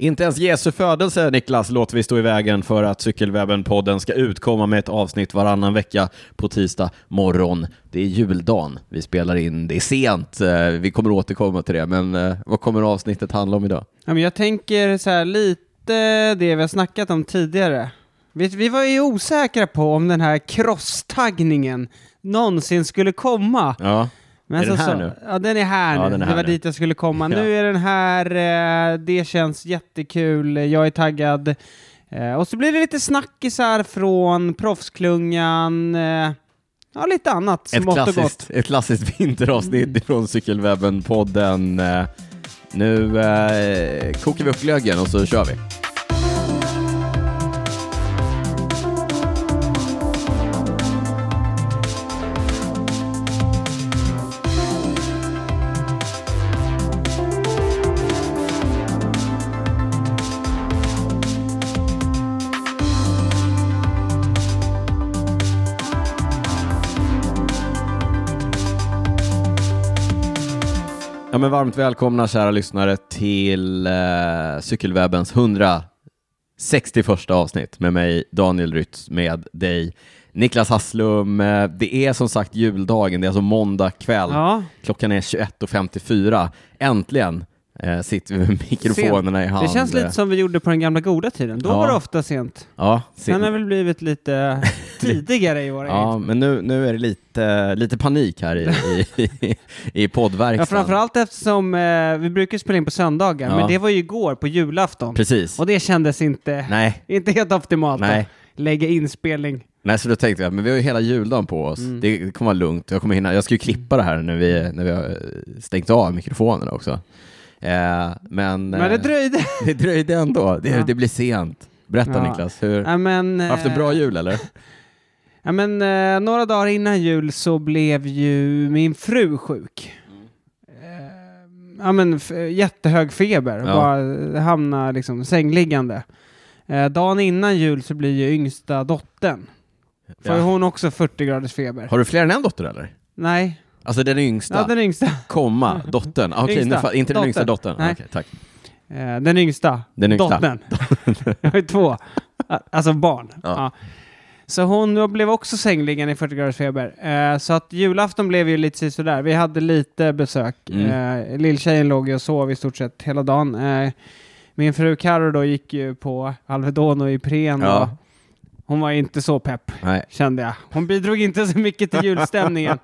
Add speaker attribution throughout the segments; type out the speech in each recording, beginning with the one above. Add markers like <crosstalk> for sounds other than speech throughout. Speaker 1: Inte ens Jesu födelse, Niklas, låter vi stå i vägen för att Cykelwebben-podden ska utkomma med ett avsnitt varannan vecka på tisdag morgon. Det är juldagen vi spelar in. Det är sent. eh, Vi kommer återkomma till det, men eh, vad kommer avsnittet handla om idag?
Speaker 2: Ja, men jag tänker så här lite det vi har snackat om tidigare. Vi, vi var ju osäkra på om den här crosstaggningen någonsin skulle komma.
Speaker 1: Ja,
Speaker 2: Men
Speaker 1: Är den
Speaker 2: så-
Speaker 1: här
Speaker 2: så,
Speaker 1: nu?
Speaker 2: Ja, den är här
Speaker 1: Ja,
Speaker 2: nu.
Speaker 1: den är
Speaker 2: det
Speaker 1: här
Speaker 2: var
Speaker 1: nu.
Speaker 2: dit jag skulle komma.
Speaker 1: <laughs> Ja.
Speaker 2: Nu är den här, eh, det känns jättekul, jag är taggad. Eh, och så blir det lite snackisar från proffsklungan, eh, ja lite annat
Speaker 1: ett
Speaker 2: smått och gott. Mm.
Speaker 1: klassiskt, ett klassiskt vinteravsnitt från Cykelwebben-podden. Eh, Nu eh, kokar vi upp glöggen och så kör vi. Ja, men varmt välkomna kära lyssnare till eh, Cykelwebbens 161 avsnitt med mig Daniel Rytz, med dig Niklas Hasslum. Eh, det är som sagt juldagen, det är alltså måndag kväll.
Speaker 2: Ja,
Speaker 1: Klockan är 21.54. Äntligen eh, sitter vi med mikrofonerna i hand.
Speaker 2: det känns lite som vi gjorde på den gamla goda tiden. Då
Speaker 1: Ja.
Speaker 2: var det ofta sent.
Speaker 1: Ja,
Speaker 2: Sen har
Speaker 1: sin...
Speaker 2: det väl
Speaker 1: <laughs>
Speaker 2: blivit lite tidigare i våra
Speaker 1: ja
Speaker 2: ja,
Speaker 1: men nu, nu är det lite, lite panik här i, i, i poddverkstan.
Speaker 2: ja, Framförallt eftersom eh, vi brukar spela in på söndagar,
Speaker 1: Ja.
Speaker 2: men det var ju igår på julafton.
Speaker 1: Precis.
Speaker 2: Och det kändes inte,
Speaker 1: Nej,
Speaker 2: inte helt optimalt.
Speaker 1: Nej.
Speaker 2: att Lägga inspelning.
Speaker 1: Nej, så då tänkte jag, men vi har ju hela juldagen på oss.
Speaker 2: Mm.
Speaker 1: Det kommer vara lugnt. Jag kommer hinna. Jag ska ju klippa det här när vi, när vi har stängt av mikrofonerna också. Eh, men
Speaker 2: Men det
Speaker 1: eh,
Speaker 2: dröjde.
Speaker 1: <laughs> det dröjde ändå. Det,
Speaker 2: Ja.
Speaker 1: det blir sent. Berätta
Speaker 2: Ja.
Speaker 1: Niklas, hur, har
Speaker 2: ja, men,
Speaker 1: du haft en
Speaker 2: eh,
Speaker 1: bra jul eller?
Speaker 2: Ja, men, eh, några dagar innan jul så blev ju min fru sjuk. Eh, ja, men, f- jättehög feber,
Speaker 1: Ja.
Speaker 2: bara hamna liksom sängliggande. Eh, dagen innan jul så blir ju yngsta dottern, får
Speaker 1: Ja.
Speaker 2: ju hon också 40 graders feber.
Speaker 1: Har du fler än en dotter eller?
Speaker 2: Nej,
Speaker 1: Alltså den yngsta,
Speaker 2: ja, den yngsta.
Speaker 1: komma, dottern. Ah, Okej, nu
Speaker 2: Yngsta.
Speaker 1: fa- inte den yngsta
Speaker 2: Dottern.
Speaker 1: dottern.
Speaker 2: Nej.
Speaker 1: Okej, tack.
Speaker 2: Eh, den yngsta.
Speaker 1: Den yngsta.
Speaker 2: Dottern. Jag har ju två. A- Alltså barn.
Speaker 1: Ja.
Speaker 2: Ja. Så hon blev också sängliggande i 40 graders feber. Eh, så att julafton blev ju lite sådär. Vi hade lite besök.
Speaker 1: Mm.
Speaker 2: Eh, lilltjejen låg ju och sov i stort sett hela dagen. Eh, min fru Karo då gick ju på Alvedon och Ipren.
Speaker 1: Ja.
Speaker 2: Och hon var inte så pepp,
Speaker 1: Nej.
Speaker 2: kände jag. Hon bidrog inte så mycket till
Speaker 1: <laughs>
Speaker 2: julstämningen.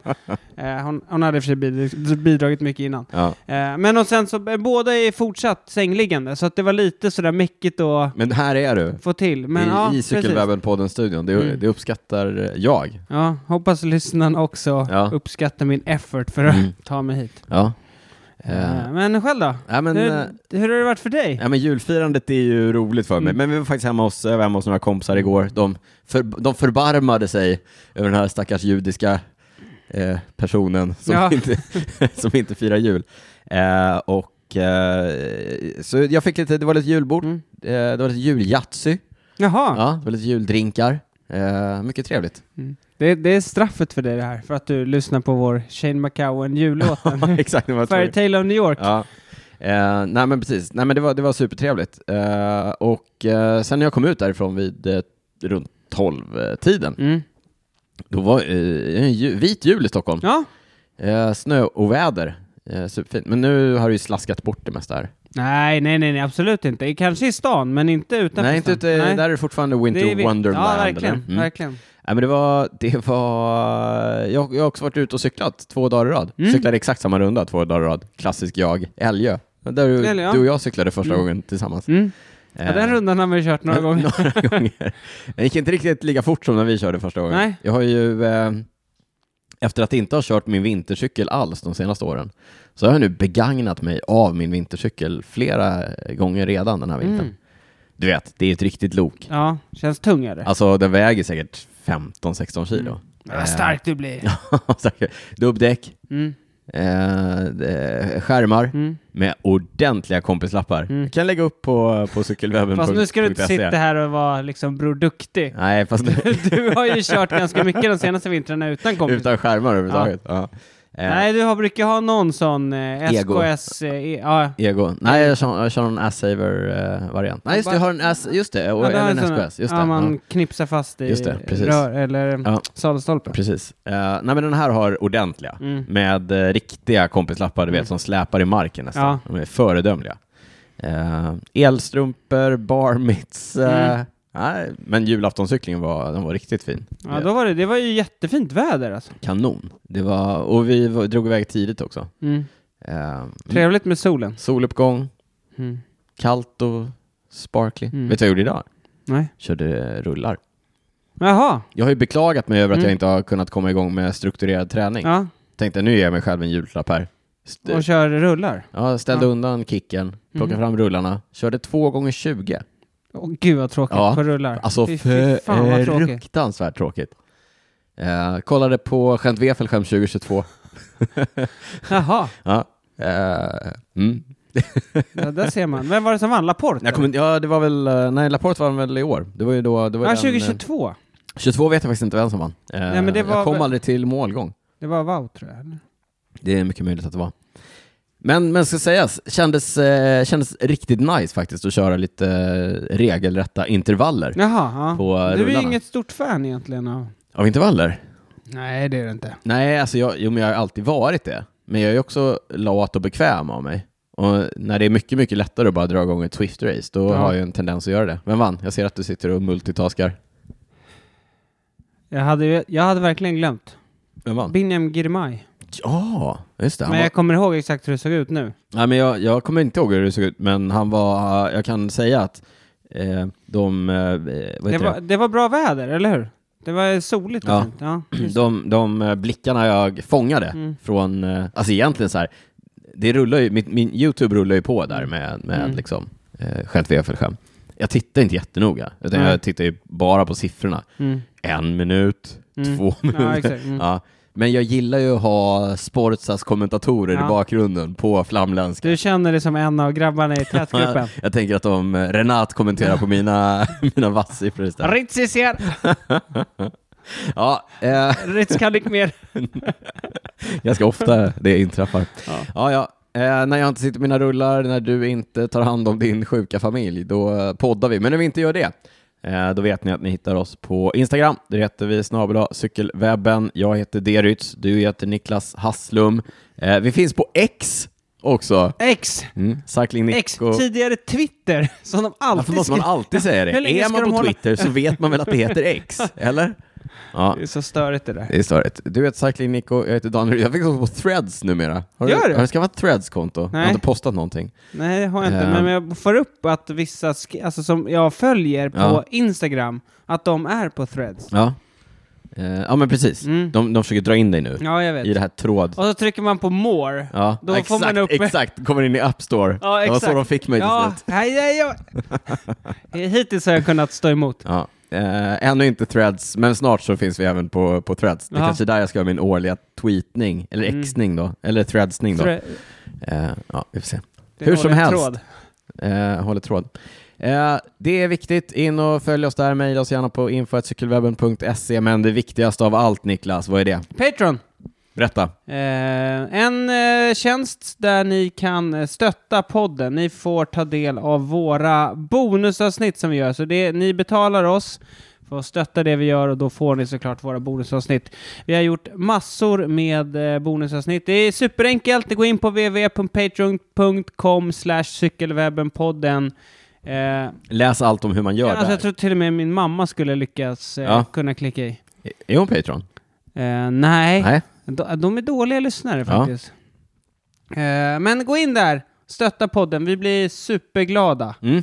Speaker 2: Eh, hon, hon hade i och för sig bidrog- bidragit mycket innan.
Speaker 1: Ja.
Speaker 2: Eh, Men och sen så, eh, båda är fortsatt sängliggande, så att det var lite sådär mäckigt att
Speaker 1: Men här är du,
Speaker 2: få till. Men,
Speaker 1: i,
Speaker 2: ja,
Speaker 1: i
Speaker 2: precis.
Speaker 1: Cykelwebben-podden-studion. Det,
Speaker 2: Mm.
Speaker 1: det uppskattar jag.
Speaker 2: Ja, hoppas lyssnarna också
Speaker 1: Ja.
Speaker 2: uppskattar min effort för att
Speaker 1: Mm.
Speaker 2: <laughs> ta mig hit.
Speaker 1: Ja. Eh,
Speaker 2: Eh, Men själv då?
Speaker 1: nej, men, eh,
Speaker 2: hur, hur har det varit för dig?
Speaker 1: Ja, men julfirandet är ju roligt för mig,
Speaker 2: Mm.
Speaker 1: men vi var faktiskt hemma hos, jag var hemma hos några kompisar igår. De, för, de förbarmade sig över den här stackars judiska eh, personen som,
Speaker 2: Ja.
Speaker 1: inte, <laughs> som inte firar jul. Eh, och, eh, så jag fick lite, det var lite julbord,
Speaker 2: Mm.
Speaker 1: eh, det var lite juljatzy,
Speaker 2: Jaha,
Speaker 1: ja, det var lite juldrinkar. Eh, mycket
Speaker 2: <laughs>
Speaker 1: trevligt. <laughs>
Speaker 2: det, det är straffet för dig det här, för att du lyssnar på vår Shane
Speaker 1: <laughs>
Speaker 2: McGowan jullåten.
Speaker 1: Exakt, det var
Speaker 2: <laughs> Fairy
Speaker 1: trevligt.
Speaker 2: Tale of New York.
Speaker 1: Ja. Eh, nej men precis, nej, men det, var, det var supertrevligt. Eh, och eh, sen när jag kom ut därifrån vid eh, runt 12-tiden
Speaker 2: Mm.
Speaker 1: Då var eh, en ju, vit jul i Stockholm.
Speaker 2: Ja,
Speaker 1: Eh, snö och väder. Eh, superfint. Men nu har det ju slaskat bort det mesta här.
Speaker 2: nej, nej, nej, nej, absolut inte. Kanske i stan, men inte utanför
Speaker 1: Nej, inte
Speaker 2: stan.
Speaker 1: ute, där är det fortfarande Winter
Speaker 2: Det är vi-
Speaker 1: Wonderland.
Speaker 2: Ja, verkligen.
Speaker 1: eller? Mm.
Speaker 2: verkligen.
Speaker 1: Nej, men det var, det var... Jag, jag har också varit ute och cyklat två dagar i rad.
Speaker 2: Mm.
Speaker 1: Cyklade exakt samma runda två dagar i rad. Klassisk jag, Älgö. Där du,
Speaker 2: Älgö, ja.
Speaker 1: du och jag cyklade första
Speaker 2: Mm.
Speaker 1: gången tillsammans.
Speaker 2: Mm. Ja,
Speaker 1: Eh,
Speaker 2: den rundan har vi kört några gånger.
Speaker 1: <laughs> några gånger. Det gick inte riktigt lika fort som när vi körde första gången.
Speaker 2: Nej.
Speaker 1: Jag har ju, eh, efter att inte ha kört min vintercykel alls de senaste åren, så har jag nu begagnat mig av min vintercykel flera gånger redan den här vintern.
Speaker 2: Mm.
Speaker 1: Du vet, det är ett riktigt lok.
Speaker 2: Ja, känns tung är det.
Speaker 1: Alltså den väger säkert 15-16 kilo. <laughs>
Speaker 2: Men Vad stark du blir.
Speaker 1: Säkert. Dubbdäck,
Speaker 2: Mm,
Speaker 1: eh, eh, skärmar
Speaker 2: mm.
Speaker 1: med ordentliga kompislappar.
Speaker 2: Mm.
Speaker 1: Jag kan lägga upp på, på cykelwebben.
Speaker 2: Fast nu ska du inte
Speaker 1: punkt E. se.
Speaker 2: sitta här och vara liksom Bror Duktig. <laughs>
Speaker 1: Nej, fast nu,
Speaker 2: Du har ju kört ganska mycket de senaste vintrarna utan kompis.
Speaker 1: Utan skärmar överhuvudtaget. Ja. Eh,
Speaker 2: Nej, du har, brukar ha någon sån eh,
Speaker 1: Ego.
Speaker 2: SKS... Eh, e- ja.
Speaker 1: Ego. Nej, jag kör, jag kör en ass-saver-variant. eh, Nej, just det, jag har en ass, just det, och,
Speaker 2: Ja, du har
Speaker 1: eller en
Speaker 2: en sån-
Speaker 1: SKS. Just
Speaker 2: ja,
Speaker 1: det.
Speaker 2: man
Speaker 1: ja,
Speaker 2: knipsar fast i
Speaker 1: Just det, precis.
Speaker 2: rör eller
Speaker 1: Ja.
Speaker 2: sadelstolpe.
Speaker 1: precis. Eh, nej, men den här har ordentliga,
Speaker 2: Mm.
Speaker 1: med eh, riktiga kompislappar, du vet,
Speaker 2: Mm.
Speaker 1: som släpar i marken nästan.
Speaker 2: Ja.
Speaker 1: De är föredömliga. Eh, elstrumpor, bar mitts, eh,
Speaker 2: Mm.
Speaker 1: nej, men julaftoncyklingen var, den var riktigt fin. Eh,
Speaker 2: Ja, då var det, det var ju jättefint väder alltså.
Speaker 1: Kanon. Det var, och vi var, drog iväg tidigt också.
Speaker 2: Mm.
Speaker 1: Eh,
Speaker 2: Trevligt med solen.
Speaker 1: soluppgång,
Speaker 2: Mm.
Speaker 1: kallt och sparkly.
Speaker 2: Mm.
Speaker 1: Vet du vad jag gjorde idag?
Speaker 2: Nej.
Speaker 1: Körde eh, rullar.
Speaker 2: Jaha.
Speaker 1: Jag har ju beklagat mig över att
Speaker 2: Mm.
Speaker 1: jag inte har kunnat komma igång med strukturerad träning.
Speaker 2: Ja.
Speaker 1: Tänkte nu ger jag mig själv en julklapp här. St-
Speaker 2: Och kör rullar.
Speaker 1: ja, ställde
Speaker 2: Ja.
Speaker 1: undan kicken, plockade
Speaker 2: Mhm.
Speaker 1: fram rullarna, körde två gånger 20.
Speaker 2: Åh gud vad tråkigt
Speaker 1: Ja.
Speaker 2: på rullar.
Speaker 1: Alltså
Speaker 2: Fy- fy fan vad tråkigt.
Speaker 1: fruktansvärt tråkigt. Eh, kollade på Gent Wefelgem 2022.
Speaker 2: Jaha,
Speaker 1: Ja. Eh, mm.
Speaker 2: ja, där ser man. Vem var det som vann? Laporte?
Speaker 1: jag kommer, inte- ja, det var väl, eh, nej Laporte vann väl i år. Det var ju då, det var ju
Speaker 2: ja,
Speaker 1: den, eh,
Speaker 2: 2022.
Speaker 1: 22 vet jag faktiskt inte vem som vann. Eh,
Speaker 2: Nej, men det var
Speaker 1: jag kom
Speaker 2: väl-
Speaker 1: aldrig till målgång.
Speaker 2: Det var Wow tror jag. eller?
Speaker 1: Det är mycket möjligt att det var. Men, men ska sägas, kändes, eh, kändes riktigt nice faktiskt att köra lite eh, regelrätta intervaller.
Speaker 2: Jaha,
Speaker 1: På, eh,
Speaker 2: ja. Du är ju
Speaker 1: rullarna.
Speaker 2: inget stort fan egentligen av...
Speaker 1: Av intervaller?
Speaker 2: Nej, det är det inte.
Speaker 1: Nej, alltså jag, jo, men jag har alltid varit det. Men jag är ju också lat och bekväm av mig. Och när det är mycket, mycket lättare att bara dra igång ett Swift-race, då
Speaker 2: Ja.
Speaker 1: har jag en tendens att göra det. Vem vann? Jag ser att du sitter och multitaskar.
Speaker 2: Jag hade, ju- jag hade verkligen glömt.
Speaker 1: Vem vann?
Speaker 2: Binyam Girmay.
Speaker 1: Ja, just det. Han
Speaker 2: Men
Speaker 1: var...
Speaker 2: jag kommer ihåg exakt hur det såg ut nu.
Speaker 1: Nej, men jag, jag kommer inte ihåg hur det såg ut, men han var... Jag kan säga att eh, de... Eh, vad heter
Speaker 2: Det var, det var bra väder, eller hur? Det var soligt och
Speaker 1: Ja.
Speaker 2: fint. Ja.
Speaker 1: <clears throat> de, de eh, blickarna jag fångade
Speaker 2: Mm.
Speaker 1: från, eh, alltså egentligen så här, det rullar ju, min, min YouTube rullar ju på där med, med
Speaker 2: Mm.
Speaker 1: liksom, eh, skämt Wefelskärm. Jag tittar inte jättenoga, utan
Speaker 2: Nej.
Speaker 1: jag tittar ju bara på siffrorna.
Speaker 2: Mm.
Speaker 1: En minut,
Speaker 2: Mm.
Speaker 1: två minuter.
Speaker 2: Ja, exakt. Mm.
Speaker 1: Ja. Men jag gillar ju att ha Sportsas kommentatorer
Speaker 2: Ja.
Speaker 1: i bakgrunden på flamländska.
Speaker 2: Du känner dig som en av grabbarna
Speaker 1: <laughs>
Speaker 2: i tätgruppen.
Speaker 1: Jag tänker att om eh, Renat kommenterar på mina, <laughs> mina vasssiffror istället.
Speaker 2: Ritz ser,
Speaker 1: Ja, eh,
Speaker 2: Ritz kan inte mer.
Speaker 1: ganska ofta det inträffar.
Speaker 2: Ja.
Speaker 1: Ja, ja. Eh, när jag inte sitter med mina rullar, när du inte tar hand om din sjuka familj, då eh, poddar vi. Men när vi inte gör det, eh, då vet ni att ni hittar oss på Instagram. Där heter vi snabel cykelwebben. Jag heter Derytz, du heter Niklas Hasslum. Eh, vi finns på X också.
Speaker 2: X,
Speaker 1: Mm. Cycling
Speaker 2: X,
Speaker 1: Nico.
Speaker 2: tidigare Twitter, <laughs> som de
Speaker 1: Varför
Speaker 2: alltid
Speaker 1: måste man
Speaker 2: skriver.
Speaker 1: alltid säga det?
Speaker 2: Hur länge
Speaker 1: Är
Speaker 2: ska de
Speaker 1: man på
Speaker 2: hålla-
Speaker 1: Twitter så vet man väl att det heter
Speaker 2: <laughs>
Speaker 1: X, eller? Ja,
Speaker 2: Det är så störigt det där.
Speaker 1: det är störigt. Du heter Cycling Nico, jag heter Daniel. Jag finns också på Threads numera. Har
Speaker 2: Gör
Speaker 1: du?
Speaker 2: du?
Speaker 1: Har du skaffat Threads-konto? Jag har
Speaker 2: Nej.
Speaker 1: inte postat någonting.
Speaker 2: Nej, det har jag inte.
Speaker 1: Eh.
Speaker 2: Men jag får upp att vissa sk- alltså, som jag följer på
Speaker 1: Ja.
Speaker 2: Instagram, att de är på threads.
Speaker 1: Ja, eh, ja men precis.
Speaker 2: Mm.
Speaker 1: De, de försöker dra in dig nu
Speaker 2: Ja, jag
Speaker 1: i
Speaker 2: vet.
Speaker 1: det här tråd...
Speaker 2: Och så trycker man på more.
Speaker 1: Ja,
Speaker 2: Då får
Speaker 1: exakt,
Speaker 2: man upp-
Speaker 1: exakt. Kommer in i App Store.
Speaker 2: Ja,
Speaker 1: det var så
Speaker 2: exakt.
Speaker 1: de fick mig till
Speaker 2: Ja,
Speaker 1: slut.
Speaker 2: nej, nej,
Speaker 1: <laughs>
Speaker 2: jag... Hittills har jag kunnat stå emot.
Speaker 1: Ja. Eh, ännu inte Threads, men snart så finns vi även på, på Threads. Det är
Speaker 2: Ja.
Speaker 1: kanske är där jag ska göra min årliga tweetning, eller
Speaker 2: Mm.
Speaker 1: xning då, eller threadsning då.
Speaker 2: Thre-
Speaker 1: Eh, ja, vi får se.
Speaker 2: det är
Speaker 1: Hur som
Speaker 2: dålig
Speaker 1: helst.
Speaker 2: tråd.
Speaker 1: Eh, håller tråd. Eh, det är viktigt. In och följ oss där. Mejla oss gärna på info.cykelwebben.se. Men det viktigaste av allt, Niklas, vad är det?
Speaker 2: Patreon.
Speaker 1: Berätta.
Speaker 2: Eh, en eh, tjänst där ni kan eh, stötta podden. Ni får ta del av våra bonusavsnitt som vi gör. Så det, ni betalar oss för att stötta det vi gör och då får ni såklart våra bonusavsnitt. Vi har gjort massor med eh, bonusavsnitt. Det är superenkelt. Gå in på www.patreon.com cykelwebbenpodden. Eh,
Speaker 1: Läs allt om hur man gör
Speaker 2: alltså, jag
Speaker 1: där.
Speaker 2: tror till och med min mamma skulle lyckas eh,
Speaker 1: Ja.
Speaker 2: kunna klicka i.
Speaker 1: Är hon Patreon?
Speaker 2: Eh, nej.
Speaker 1: Nej.
Speaker 2: De, de är dåliga lyssnare
Speaker 1: Ja.
Speaker 2: faktiskt. Eh, men gå in där, stötta podden, vi blir superglada.
Speaker 1: Mm.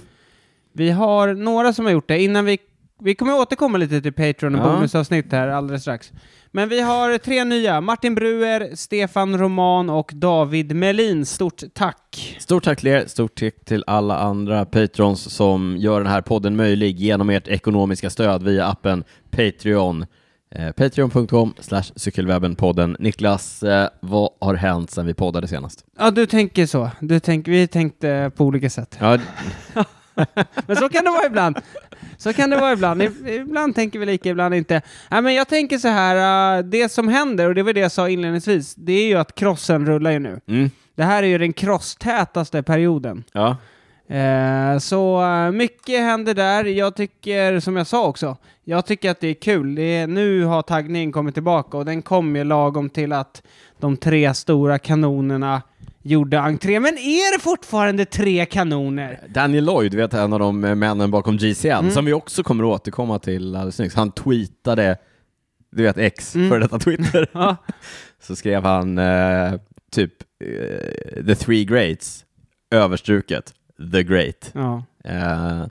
Speaker 2: Vi har några som har gjort det innan vi... Vi kommer återkomma lite till Patreon och
Speaker 1: Ja.
Speaker 2: bonusavsnitt här alldeles strax. Men vi har tre nya, Martin Bruer, Stefan Roman och David Melin. Stort tack!
Speaker 1: Stort tack till er. Stort tack till alla andra Patrons som gör den här podden möjlig genom ert ekonomiska stöd via appen Patreon. Eh, Patreon.com slash cykelwebbenpodden. Niklas, eh, vad har hänt sedan vi poddade senast?
Speaker 2: Ja, du tänker så. Du tänk, vi tänkte på olika sätt.
Speaker 1: Ja,
Speaker 2: Men så kan det vara ibland. Så kan det vara ibland. Ib- Ibland tänker vi lika, ibland inte. Nej, men jag tänker så här, eh, det som händer, och det var det jag sa inledningsvis, det är ju att krossen rullar ju nu.
Speaker 1: Mm.
Speaker 2: Det här är ju den crosstätaste perioden.
Speaker 1: Ja.
Speaker 2: Eh, så eh, mycket händer där. Jag tycker, som jag sa också, jag tycker att det är kul. Det är, nu har taggningen kommit tillbaka och den kom ju lagom till att de tre stora kanonerna gjorde entré. Men är det fortfarande tre kanoner?
Speaker 1: Daniel Lloyd, vet en av de eh, männen bakom GCN,
Speaker 2: Mm.
Speaker 1: som vi också kommer att återkomma till alldeles nyss. Han tweetade, du vet X,
Speaker 2: Mm.
Speaker 1: före detta Twitter,
Speaker 2: <laughs> Ja.
Speaker 1: <laughs> så skrev han eh, typ eh, The Three Greats, överstruket The Great.
Speaker 2: ja.
Speaker 1: Eh,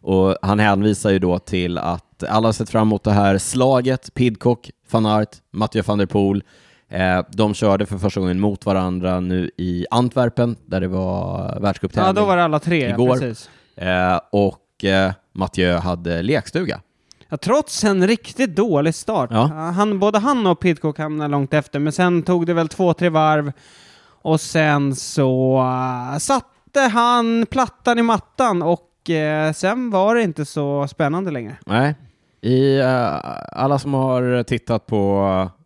Speaker 1: och han hänvisar ju då till att alla har sett fram emot det här slaget, Pidcock, van Aert, Mathieu van der Poel. Eh, de körde för första gången mot varandra nu i Antwerpen, där det var världscuptävling.
Speaker 2: ja, då var det alla tre.
Speaker 1: Igår.
Speaker 2: Igår. Precis.
Speaker 1: Eh, och eh, Mathieu hade lekstuga.
Speaker 2: Ja, trots en riktigt dålig start.
Speaker 1: Ja.
Speaker 2: Han, både han och Pidcock hamnade långt efter, men sen tog det väl två, tre varv och sen så eh, satte han plattan i mattan och eh, sen var det inte så spännande längre.
Speaker 1: Nej. I, eh, alla som har tittat på eh,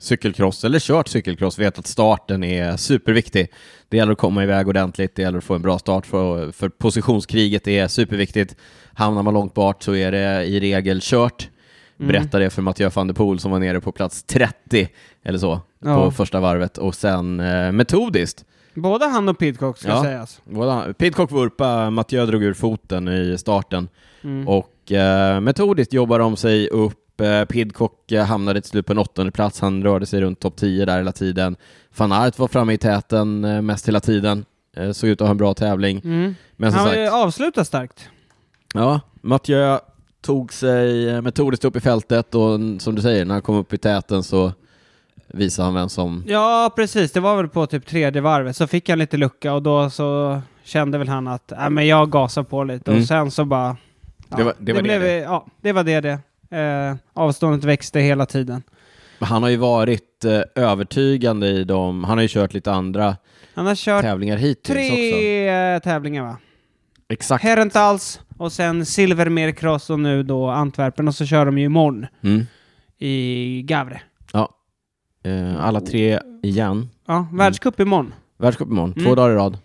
Speaker 1: cykelcross eller kört cykelcross vet att starten är superviktig. Det gäller att komma iväg ordentligt, det gäller att få en bra start för, för positionskriget är superviktigt. Hamnar man långt bort så är det i regel kört. Berättade det för Mathieu van der Poel som var nere på plats 30 eller så
Speaker 2: Ja.
Speaker 1: på första varvet och sen eh, metodiskt
Speaker 2: Både han och Pidcock ska
Speaker 1: Ja.
Speaker 2: sägas.
Speaker 1: Båda. Pidcock vurpa, Mathieu drog ur foten i starten
Speaker 2: Mm.
Speaker 1: och eh, metodiskt jobbar de sig upp. Eh, Pidcock eh, hamnade till slut på en åttonde plats. Han rörde sig runt topp 10 där hela tiden. Van Aert var framme i täten eh, mest hela tiden. Eh, såg ut att ha en bra tävling.
Speaker 2: Mm.
Speaker 1: Men som
Speaker 2: Han
Speaker 1: sagt,
Speaker 2: eh, avslutar starkt.
Speaker 1: ja, Mathieu tog sig eh, metodiskt upp i fältet och mm, som du säger, när han kom upp i täten så visade han vem som...
Speaker 2: Ja, precis. Det var väl på typ tredje varvet. Så fick han lite lucka och då så kände väl han att äh, men jag gasar på lite.
Speaker 1: Mm.
Speaker 2: Och sen så bara... Ja,
Speaker 1: Det var- det var det,
Speaker 2: blev, Ja, det var det det. Eh, avståndet växte hela tiden.
Speaker 1: Han har ju varit eh, övertygande i dem. Han har ju kört lite andra
Speaker 2: Han har kört
Speaker 1: tävlingar hittills också.
Speaker 2: tre eh, tävlingar va?
Speaker 1: Exakt.
Speaker 2: Herentals och sen Silvermeer Cross och nu då Antwerpen och så kör de ju imorgon
Speaker 1: Mm.
Speaker 2: i Gavre.
Speaker 1: Ja. Eh, alla tre igen.
Speaker 2: Ja, världscup
Speaker 1: Mm.
Speaker 2: imorgon.
Speaker 1: Världscup imorgon, två
Speaker 2: Mm.
Speaker 1: dagar i rad.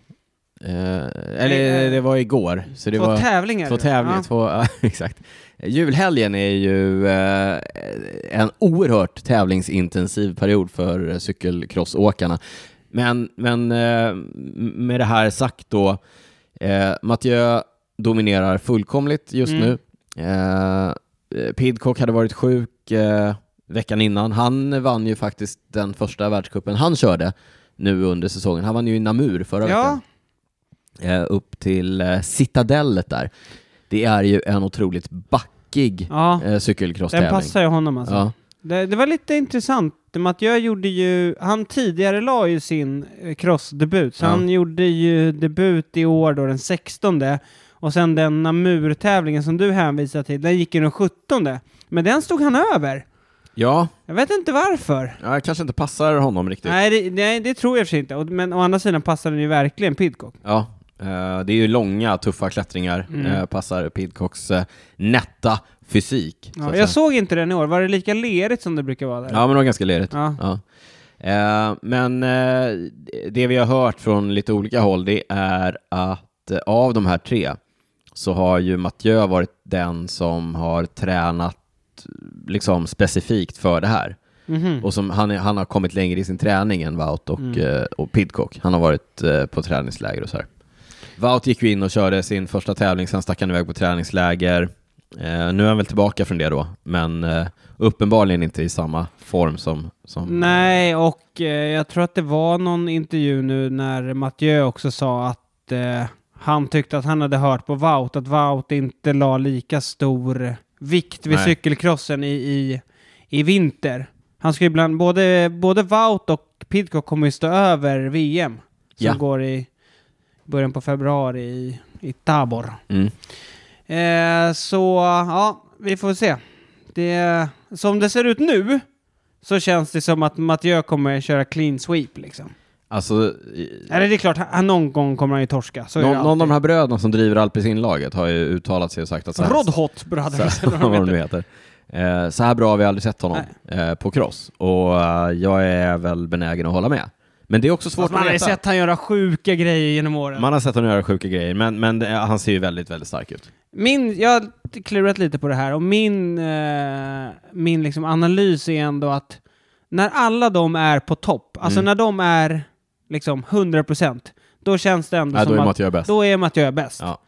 Speaker 1: Eh, eller
Speaker 2: Nej, eh,
Speaker 1: det var igår, så det
Speaker 2: två
Speaker 1: var
Speaker 2: tävlingar.
Speaker 1: två tävlingar.
Speaker 2: Ja.
Speaker 1: Två, <laughs> ja, exakt. Eh, Julhelgen är ju eh, en oerhört tävlingsintensiv period för eh, cykelcrossåkarna. Men, men eh, med det här sagt då, eh, Mathieu dominerar fullkomligt just
Speaker 2: Mm.
Speaker 1: nu. Eh, Pidcock hade varit sjuk eh, veckan innan. Han vann ju faktiskt den första världscupen han körde nu under säsongen. Han vann ju i Namur förra
Speaker 2: Ja,
Speaker 1: veckan, eh, upp till eh, Citadellet där. Det är ju en otroligt backig
Speaker 2: ja.
Speaker 1: eh,
Speaker 2: Den
Speaker 1: cykelcross-tävling.
Speaker 2: passar ju honom alltså.
Speaker 1: Ja.
Speaker 2: Det, det var lite intressant. Mathieu gjorde ju, han tidigare la ju sin eh, crossdebut, så
Speaker 1: Ja.
Speaker 2: han gjorde ju debut i år då den 16 och sen den Namur-tävlingen som du hänvisar till, den gick ju den 17 men den stod han över.
Speaker 1: ja,
Speaker 2: Jag vet inte varför.
Speaker 1: ja, kanske inte passar honom riktigt.
Speaker 2: Nej det, nej, det tror jag i och för sig inte, Och- men å andra sidan passar den ju verkligen Pidcock.
Speaker 1: Ja, eh, det är ju långa, tuffa klättringar,
Speaker 2: Mm.
Speaker 1: eh, passar Pidcocks eh, nätta fysik. så
Speaker 2: Ja,
Speaker 1: att
Speaker 2: jag
Speaker 1: säga.
Speaker 2: såg inte den i år, var det lika lerigt som det brukar vara där?
Speaker 1: ja, men det var ganska lerigt.
Speaker 2: Ja.
Speaker 1: Ja. Eh, men eh, det vi har hört från lite olika håll, det är att eh, av de här tre så har ju Mathieu varit den som har tränat eh, liksom specifikt för det här.
Speaker 2: Mhm.
Speaker 1: Och som, han, är, han har kommit längre i sin träning än Wout och,
Speaker 2: Mm.
Speaker 1: eh, och Pidcock. Han har varit eh, på träningsläger och så här. Wout gick ju in och körde sin första tävling, sen stack han iväg på träningsläger. Eh, nu är han väl tillbaka från det då, men eh, uppenbarligen inte i samma form som... som
Speaker 2: Nej, och eh, jag tror att det var någon intervju nu när Mathieu också sa att eh, han tyckte att han hade hört på Wout att Wout inte la lika stor vikt vid
Speaker 1: Nej.
Speaker 2: cykelkrossen i, i, i vinter. Han ska ju bland, både, både Wout och Pidcock kommer ju stå över VM som
Speaker 1: Ja.
Speaker 2: går i början på februari i, i Tabor.
Speaker 1: Mm.
Speaker 2: Eh, så ja, vi får se. Det, som det ser ut nu så känns det som att Mathieu kommer köra clean sweep liksom.
Speaker 1: Alltså, i-
Speaker 2: Eller det är klart, han- någon gång kommer han ju torska. Så är
Speaker 1: någon,
Speaker 2: det
Speaker 1: någon av de
Speaker 2: alltid.
Speaker 1: här bröderna som driver Alpecin-laget har ju uttalat sig och sagt att så här, <laughs>
Speaker 2: Rodhot Brothers,
Speaker 1: så,
Speaker 2: eller
Speaker 1: vad
Speaker 2: vad de
Speaker 1: de nu
Speaker 2: heter.
Speaker 1: heter. Eh, så här bra har vi aldrig sett honom eh, på cross och eh, jag är väl benägen att hålla med. Men det är också svårt
Speaker 2: Fast Man har
Speaker 1: att
Speaker 2: ju
Speaker 1: veta.
Speaker 2: sett han göra sjuka grejer genom åren.
Speaker 1: Man har sett honom göra sjuka grejer, men, men det, eh, han ser ju väldigt, väldigt stark ut.
Speaker 2: Min, jag har klurat lite på det här och min, eh, min liksom analys är ändå att när alla de är på topp, alltså
Speaker 1: Mm.
Speaker 2: när de är liksom 100%, då känns det ändå
Speaker 1: Nej, då
Speaker 2: som
Speaker 1: är
Speaker 2: att
Speaker 1: Mattias bäst.
Speaker 2: då är Matteo bäst.
Speaker 1: Ja.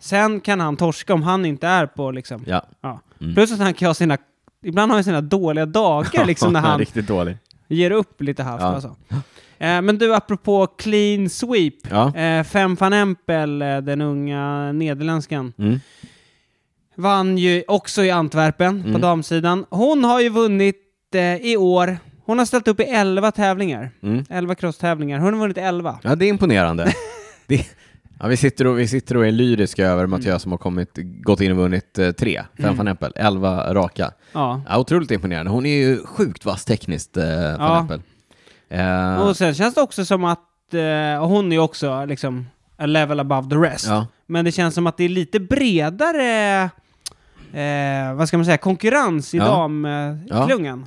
Speaker 2: Sen kan han torska om han inte är på liksom.
Speaker 1: Ja.
Speaker 2: Ja.
Speaker 1: Mm.
Speaker 2: Plus att han kan ha sina, ibland har han sina
Speaker 1: <laughs>
Speaker 2: dåliga dagar liksom när han
Speaker 1: Riktigt dålig.
Speaker 2: ger upp lite halvt
Speaker 1: Ja.
Speaker 2: alltså. Eh, men du, apropå clean sweep.
Speaker 1: Ja.
Speaker 2: Eh, Fem van Empel, eh, den unga nederländskan,
Speaker 1: Mm.
Speaker 2: vann ju också i Antwerpen på
Speaker 1: Mm.
Speaker 2: damsidan. Hon har ju vunnit eh, i år. Hon har ställt upp i 11 tävlingar.
Speaker 1: Mm.
Speaker 2: 11 crosstävlingar. Hon har vunnit 11.
Speaker 1: ja, det är
Speaker 2: <laughs>
Speaker 1: imponerande. det, ja, vi, sitter och, vi sitter och är lyriska
Speaker 2: Mm.
Speaker 1: över Mattias som har kommit, gått in och vunnit eh, tre, fem van Empel, elva raka.
Speaker 2: Ja.
Speaker 1: Ja, otroligt imponerande. Hon är ju sjukt vass tekniskt, eh, van
Speaker 2: Ja.
Speaker 1: Empel. Eh,
Speaker 2: Och sen känns det också som att eh, och hon är ju också liksom a level above the rest.
Speaker 1: ja.
Speaker 2: Men det känns som att det är lite bredare, eh, vad ska man säga, konkurrens i
Speaker 1: Ja. Ja.
Speaker 2: damklungan.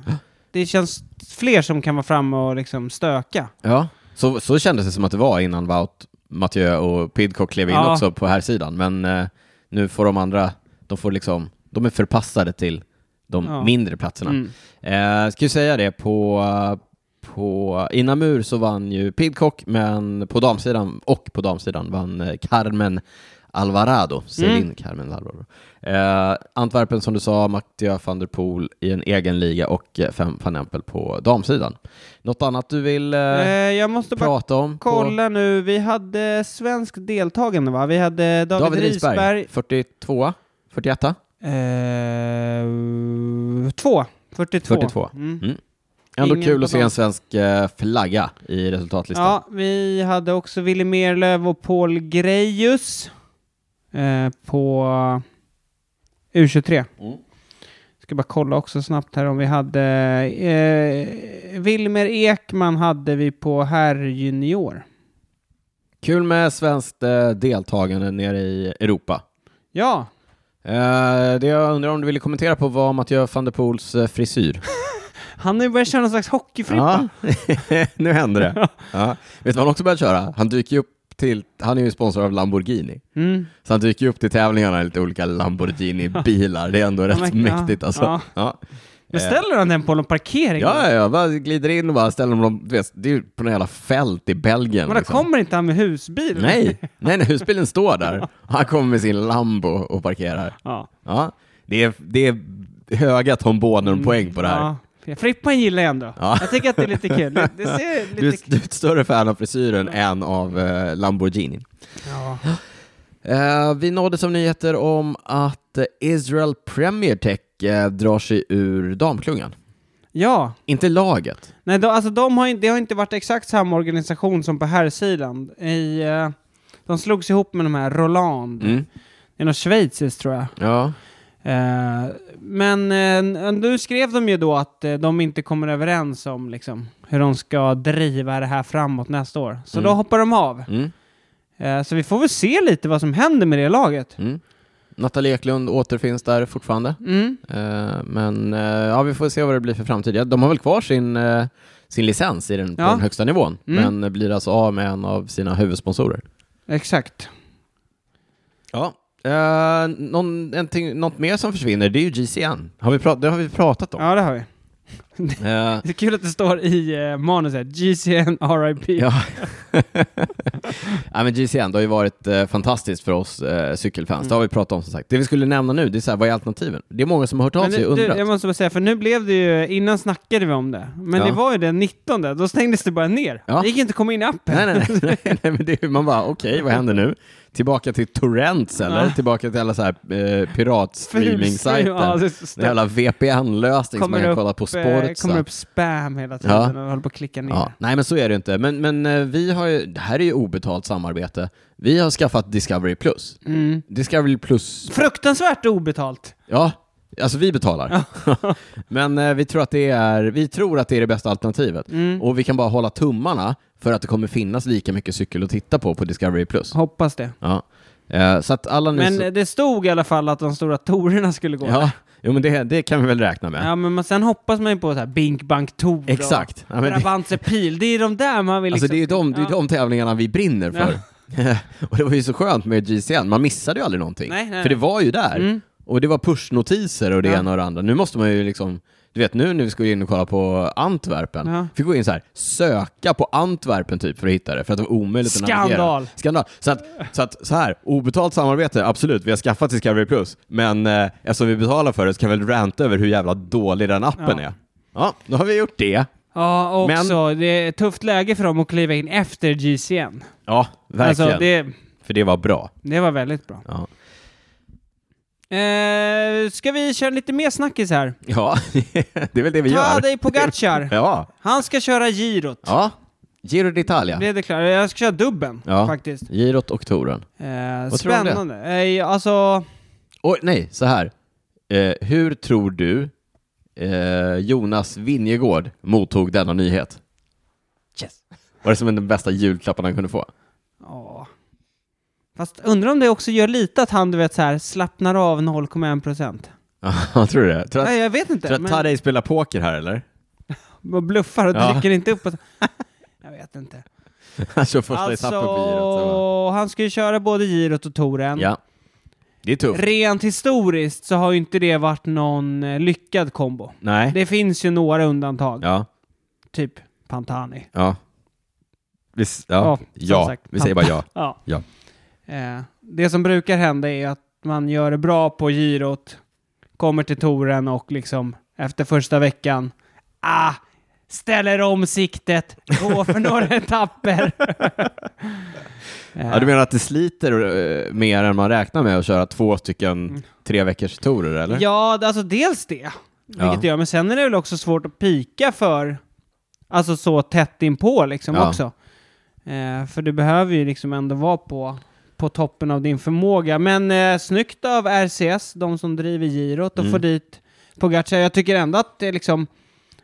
Speaker 2: Det känns fler som kan vara framme och liksom stöka.
Speaker 1: Ja, så, så kändes det som att det var innan Wout, Mathieu och Pidcock klev in
Speaker 2: Ja.
Speaker 1: också på här sidan. Men eh, nu får de andra, de får liksom, de är förpassade till de
Speaker 2: Ja.
Speaker 1: mindre platserna.
Speaker 2: Mm.
Speaker 1: Eh, ska ju säga det, på, på Inamur så vann ju Pidcock, men på damsidan och på damsidan vann eh, Carmen Alvarado, Celine
Speaker 2: Mm.
Speaker 1: Carmen Alvarado. Eh, Antwerpen som du sa, Mattia van der Poel i en egen liga och eh, Fem van Empel på damsidan. Något annat du vill eh,
Speaker 2: Eh, jag måste bara
Speaker 1: prata om? på-
Speaker 2: kolla nu, vi hade svensk deltagande va? Vi hade David,
Speaker 1: David
Speaker 2: Risberg.
Speaker 1: Risberg, 42 41
Speaker 2: Eh, två. 42.
Speaker 1: 42.
Speaker 2: Mm.
Speaker 1: Ändå
Speaker 2: Ingen
Speaker 1: kul
Speaker 2: på
Speaker 1: att se
Speaker 2: dem.
Speaker 1: en svensk eh, flagga i resultatlistan.
Speaker 2: Ja, vi hade också Willy Merlöv och Paul Grejus eh, på U23.
Speaker 1: Mm.
Speaker 2: Ska bara kolla också snabbt här om vi hade... Eh, Wilmer Ekman hade vi på herrjunior.
Speaker 1: Kul med svenskt eh, deltagande nere i Europa.
Speaker 2: Ja,
Speaker 1: Eh, det jag undrar om du ville kommentera på var Mathieu van der Poels eh, frisyr.
Speaker 2: han har ju börjat köra någon slags hockeyfrippa.
Speaker 1: Ja, <laughs> nu händer det. Ja. Vet du vad han också börjat köra? Han dyker ju upp till, han är ju sponsor av Lamborghini.
Speaker 2: Mm.
Speaker 1: Så han dyker ju upp till tävlingarna i lite olika Lamborghini-bilar. Det är
Speaker 2: <laughs>
Speaker 1: ändå rätt
Speaker 2: men- ja,
Speaker 1: mäktigt alltså.
Speaker 2: Oh ja.
Speaker 1: Ja.
Speaker 2: Men
Speaker 1: Eh,
Speaker 2: ställer han den på någon parkering?
Speaker 1: Ja, ja, ja. Bara glider in och bara ställer dem, du vet, det är ju på något jävla fält i Belgien.
Speaker 2: Men då
Speaker 1: liksom.
Speaker 2: kommer inte han med husbil?
Speaker 1: Nej, nej,
Speaker 2: <laughs>
Speaker 1: nej, husbilen står där. Han kommer med sin Lambo och parkerar.
Speaker 2: Ja.
Speaker 1: Ja, det är, det är höga Tom Bonen-poäng på det här.
Speaker 2: Mm, Ja. Frippan gillar jag ändå.
Speaker 1: Ja.
Speaker 2: Jag tycker att det är lite kul. Det
Speaker 1: <laughs>
Speaker 2: ser lite
Speaker 1: Du, du är ett större fan av frisyren än av eh, Lamborghini.
Speaker 2: Ja.
Speaker 1: Eh, vi nåddes av nyheter om att eh, Israel Premier Tech eh, drar sig ur damklungan.
Speaker 2: ja.
Speaker 1: Inte laget.
Speaker 2: Nej, då, alltså de har, ju- det har inte varit exakt samma organisation som på herrsidan. I, eh, de slogs ihop med de här Roland.
Speaker 1: Mm.
Speaker 2: Det är något schweiziskt tror jag.
Speaker 1: Ja.
Speaker 2: Eh, men eh, nu skrev de ju då att eh, de inte kommer överens om liksom, hur de ska driva det här framåt nästa år. Så
Speaker 1: Mm.
Speaker 2: då hoppar de av.
Speaker 1: Mm.
Speaker 2: Eh, så vi får väl se lite vad som händer med det laget.
Speaker 1: Mm. Nathalie Eklund återfinns där fortfarande.
Speaker 2: Mm.
Speaker 1: Eh, men eh, ja, vi får se vad det blir för framtid. Ja, De har väl kvar sin, eh, sin licens i den, på
Speaker 2: Ja.
Speaker 1: den högsta nivån,
Speaker 2: Mm.
Speaker 1: men blir alltså av med en av sina huvudsponsorer.
Speaker 2: Exakt.
Speaker 1: Ja. Uh, någon, en ting, något mer som försvinner, det är ju GCN. Har vi pra- det har vi pratat om.
Speaker 2: Ja, det har vi.
Speaker 1: Eh,
Speaker 2: Det är kul att det står i eh, manuset, GCN RIP.
Speaker 1: Ja. ja, men GCN, det har ju varit eh, fantastiskt för oss eh, cykelfans. Det har vi pratat om som sagt. Det vi skulle nämna nu, det är så här, vad är alternativen? Det är många som har hört av
Speaker 2: Men
Speaker 1: sig
Speaker 2: det,
Speaker 1: och
Speaker 2: du,
Speaker 1: undrat.
Speaker 2: jag måste bara säga, för nu blev det ju, innan snackade vi om det, men
Speaker 1: Ja.
Speaker 2: det var ju den 19, då stängdes det bara ner.
Speaker 1: Ja.
Speaker 2: Det gick inte att komma in i appen.
Speaker 1: Nej,
Speaker 2: <laughs>
Speaker 1: nej, <laughs> nej, nej, nej, men det är, man bara okej, vad händer nu? Tillbaka till Torrents eller?
Speaker 2: Ja.
Speaker 1: Tillbaka till alla så här eh,
Speaker 2: Ja,
Speaker 1: piratstreaming-sajter?
Speaker 2: det är så
Speaker 1: Den jävla VPN-lösning som man
Speaker 2: Kommer
Speaker 1: kan
Speaker 2: upp,
Speaker 1: kolla på
Speaker 2: eh, kommer
Speaker 1: Sportsa.
Speaker 2: upp spam hela tiden
Speaker 1: Ja.
Speaker 2: och håller på att klicka ner.
Speaker 1: Ja. Nej, men så är det inte. Men, men eh, vi har ju, det här är ju obetalt samarbete. Vi har skaffat Discovery Plus.
Speaker 2: Mm.
Speaker 1: Discovery Plus,
Speaker 2: Fruktansvärt obetalt.
Speaker 1: ja, alltså vi betalar. <laughs> men eh, vi, tror att det är, vi tror att det är det bästa alternativet.
Speaker 2: Mm.
Speaker 1: Och vi kan bara hålla tummarna För att det kommer finnas lika mycket cykel att titta på på Discovery+. Plus.
Speaker 2: Hoppas det.
Speaker 1: Ja. Eh, Så att alla ni
Speaker 2: Men
Speaker 1: som-
Speaker 2: det stod i alla fall att de stora torerna skulle gå.
Speaker 1: Ja, jo, men det, det kan vi väl räkna med.
Speaker 2: Ja, men man, sen hoppas man ju på så här Bink Bank Tor och
Speaker 1: Exakt. Ja, men det-
Speaker 2: Brabantse Pil. Det är de där man vill
Speaker 1: Alltså
Speaker 2: liksom...
Speaker 1: det är ju de, det är ju
Speaker 2: Ja.
Speaker 1: de tävlingarna vi brinner för. <laughs> och det var ju så skönt med GCN, man missade ju aldrig någonting.
Speaker 2: Nej, nej,
Speaker 1: för det
Speaker 2: nej. Mm.
Speaker 1: var ju där. Och det var pushnotiser och det
Speaker 2: Ja.
Speaker 1: ena och det andra. Nu måste man ju liksom, du vet nu när vi skulle in och kolla på Antwerpen,
Speaker 2: Ja.
Speaker 1: fick gå in så här, söka på Antwerpen typ för att hitta det, för att det var omöjligt att navigera.
Speaker 2: Skandal.
Speaker 1: Skandal! Så att, så att så här, obetalt samarbete, absolut, vi har skaffat Discovery Plus, men eh, eftersom vi betalar för det så kan vi väl ranta över hur jävla dålig den appen
Speaker 2: Ja.
Speaker 1: är. Ja, nu har vi gjort det.
Speaker 2: Ja,
Speaker 1: Men-
Speaker 2: också. Det är ett tufft läge för dem att kliva in efter GCN.
Speaker 1: Ja, verkligen.
Speaker 2: Alltså, det,
Speaker 1: För det var bra.
Speaker 2: det var väldigt bra.
Speaker 1: Ja.
Speaker 2: Eh, ska vi köra lite mer snackis här?
Speaker 1: Ja, <laughs> det är väl det vi gör. <laughs>
Speaker 2: Tadej Pogacar.
Speaker 1: Ja.
Speaker 2: Han ska köra girot.
Speaker 1: ja. Giro d'Italia.
Speaker 2: Blev det klart? Jag ska köra dubben
Speaker 1: Ja.
Speaker 2: faktiskt.
Speaker 1: Girot och touren.
Speaker 2: Eh,
Speaker 1: Vad tror du om det?
Speaker 2: spännande. Eh, alltså,
Speaker 1: Och nej, så här. Eh, hur tror du eh, Jonas Vingegård mottog denna nyhet?
Speaker 2: yes.
Speaker 1: Var det som den bästa julklappen han kunde få? <laughs>
Speaker 2: Ja. Fast undrar om det också gör lite att han, du vet, så här, slappnar av 0,1 procent.
Speaker 1: Ja, tror du det? Tror du
Speaker 2: Nej,
Speaker 1: att,
Speaker 2: jag vet inte.
Speaker 1: tror du att
Speaker 2: men-
Speaker 1: Tadej spelar poker här <laughs> eller?
Speaker 2: Man bluffar och
Speaker 1: Ja.
Speaker 2: dricker inte
Speaker 1: <laughs>
Speaker 2: upp. Och... jag vet inte.
Speaker 1: Han kör första
Speaker 2: alltså,
Speaker 1: etappen på girot. sen va?
Speaker 2: han ska ju köra både girot och touren.
Speaker 1: Ja. Det är tufft.
Speaker 2: Rent historiskt så har ju inte det varit någon eh, lyckad kombo.
Speaker 1: Nej.
Speaker 2: Det finns ju några undantag,
Speaker 1: Ja.
Speaker 2: typ Pantani.
Speaker 1: Ja. Visst,
Speaker 2: Ja,
Speaker 1: ja.
Speaker 2: som
Speaker 1: Ja.
Speaker 2: sagt.
Speaker 1: Vi säger bara ja.
Speaker 2: Ja.
Speaker 1: Ja.
Speaker 2: Eh, det som brukar hända är att man gör det bra på girot, kommer till touren och liksom efter första veckan, ah, ställer om siktet, går
Speaker 1: <laughs>
Speaker 2: för några etapper.
Speaker 1: Ja, du menar att det sliter eh, mer än man räknar med att köra två stycken tre veckors torer eller?
Speaker 2: Mm. Ja, alltså dels det.
Speaker 1: Ja.
Speaker 2: Vilket gör, men sen är det väl också svårt att pika för, alltså så tätt inpå liksom
Speaker 1: Ja.
Speaker 2: också. Eh, för du behöver ju liksom ändå vara på, på toppen av din förmåga. Men eh, snyggt av RCS, de som driver girot, och
Speaker 1: Mm.
Speaker 2: få dit Pogacar. Jag tycker ändå att det är liksom,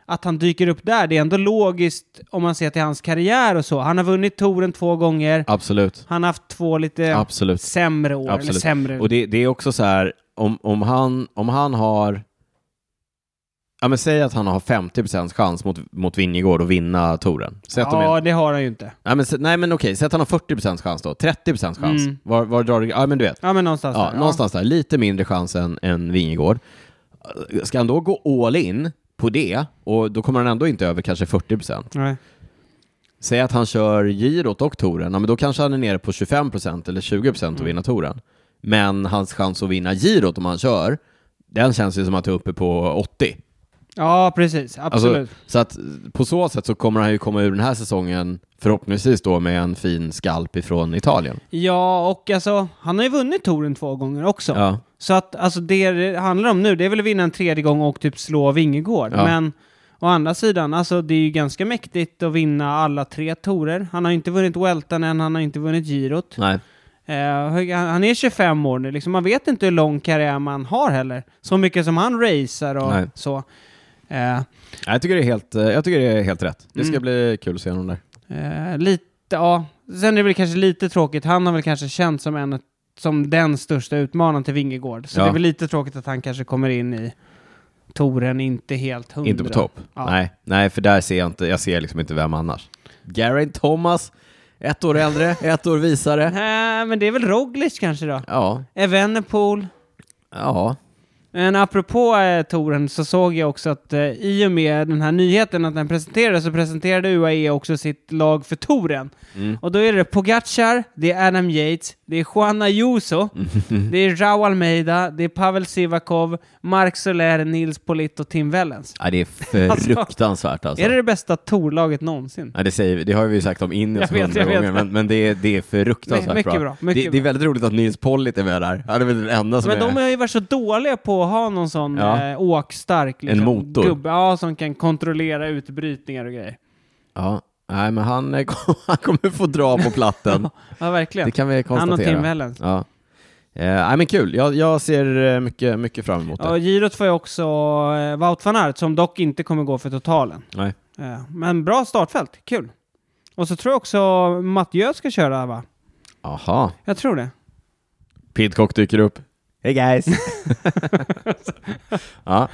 Speaker 2: att han dyker upp där, det är ändå logiskt om man ser till hans karriär och så. Han har vunnit touren två gånger,
Speaker 1: Absolut.
Speaker 2: han har haft två lite
Speaker 1: Absolut.
Speaker 2: sämre år, eller
Speaker 1: Absolut.
Speaker 2: sämre.
Speaker 1: Och det, det är också så här, om, om, han, om han har... Ja, men säg att han har 50 chans mot, mot Vingegård att vinna touren. Säg att de är,
Speaker 2: ja, det har han ju inte.
Speaker 1: nej, men, sä- nej, men okej, säg att han har 40 chans då. 30 chans.
Speaker 2: Mm.
Speaker 1: Var, var drar du... Ja, men du vet.
Speaker 2: Ja, men någonstans
Speaker 1: Ja,
Speaker 2: där.
Speaker 1: någonstans där. Lite mindre chans än, än Vingegård. Ska han då gå all in på det, och då kommer han ändå inte över kanske 40
Speaker 2: Ja. Nej.
Speaker 1: Säg att han kör girot och touren, ja, men då kanske han är nere på 25% eller 20%
Speaker 2: Mm.
Speaker 1: att vinna touren. Men hans chans att vinna girot om han kör, den känns ju som att det är uppe på 80.
Speaker 2: Ja, precis.
Speaker 1: Alltså,
Speaker 2: Absolut.
Speaker 1: så att eh, på så sätt så kommer han ju komma ur den här säsongen förhoppningsvis då med en fin skalp ifrån Italien.
Speaker 2: ja, och alltså, han har ju vunnit touren två gånger också.
Speaker 1: Ja.
Speaker 2: Så att alltså, det det handlar om nu, det är väl att vinna en tredje gång och typ slå Vingegård.
Speaker 1: Ja.
Speaker 2: Men å andra sidan, alltså, det är ju ganska mäktigt att vinna alla tre torer. Han har ju inte vunnit Weltan än, han har inte vunnit girot.
Speaker 1: Nej.
Speaker 2: Eh, han- han är 25 år nu, liksom. man vet inte hur lång karriär man har heller. Så mycket som han racear och
Speaker 1: Nej.
Speaker 2: så. Eh,
Speaker 1: Jag tycker det är helt, eh, jag tycker det är helt rätt. Det ska
Speaker 2: Mm.
Speaker 1: bli kul att se honom där.
Speaker 2: Eh, lite, ja. Sen är det väl kanske lite tråkigt. Han har väl kanske känt som en som den största utmanaren till Vingegård. Så
Speaker 1: Ja.
Speaker 2: det är väl lite tråkigt att han kanske kommer in i toren inte helt hundra.
Speaker 1: Inte på topp?
Speaker 2: Ja.
Speaker 1: Nej. Nej, för där ser jag inte, jag ser liksom inte vem annars. Geraint Thomas, ett år äldre, ett år visare.
Speaker 2: Nej, men det är väl Roglic kanske då?
Speaker 1: Ja,
Speaker 2: Evenepoel.
Speaker 1: ja.
Speaker 2: Men apropå eh, toren så såg jag också att eh, i och med den här nyheten att den presenterades så presenterade UAE också sitt lag för toren.
Speaker 1: Mm.
Speaker 2: Och då är det Pogacar, det är Adam Yates, det är
Speaker 1: <laughs>
Speaker 2: Juan Ayuso, det är Raul Almeida, det är Pavel Sivakov, Mark Soler, Nils Polito och Tim Wellens.
Speaker 1: Ja, det är fruktansvärt alltså.
Speaker 2: <laughs> Är det det bästa torlaget någonsin?
Speaker 1: Ja, det, säger, vi- det har vi ju sagt om Ineos
Speaker 2: Jag vet,
Speaker 1: hundra
Speaker 2: jag vet.
Speaker 1: gånger, men, men det, är, det är fruktansvärt
Speaker 2: Nej, mycket
Speaker 1: bra.
Speaker 2: bra, mycket
Speaker 1: det, det är väldigt roligt att Nils Pollitt är med där. Han är väl den enda som
Speaker 2: Men
Speaker 1: är...
Speaker 2: de har ju varit så dåliga på att ha någon sån
Speaker 1: Alltså, Ja.
Speaker 2: eh, åkstark liksom,
Speaker 1: En motor.
Speaker 2: gubbe, ja, som kan kontrollera utbrytningar och grejer.
Speaker 1: Ja, nej, men han, <laughs> är, han kommer få dra på platten.
Speaker 2: <laughs> Ja, verkligen.
Speaker 1: det kan vi
Speaker 2: Han och
Speaker 1: konstatera.
Speaker 2: Tim Wellens.
Speaker 1: Ja. Eh, nej, men kul. Jag, jag ser eh, mycket, mycket fram emot det.
Speaker 2: Ja, girot får ju också eh, Wout van Aert, som dock inte kommer gå för totalen.
Speaker 1: Nej.
Speaker 2: Eh, men bra startfält, kul. Och så tror jag också Mattiö ska köra va?
Speaker 1: Aha.
Speaker 2: Jag tror det.
Speaker 1: Pidcock dyker upp. Hey guys! <laughs> ja.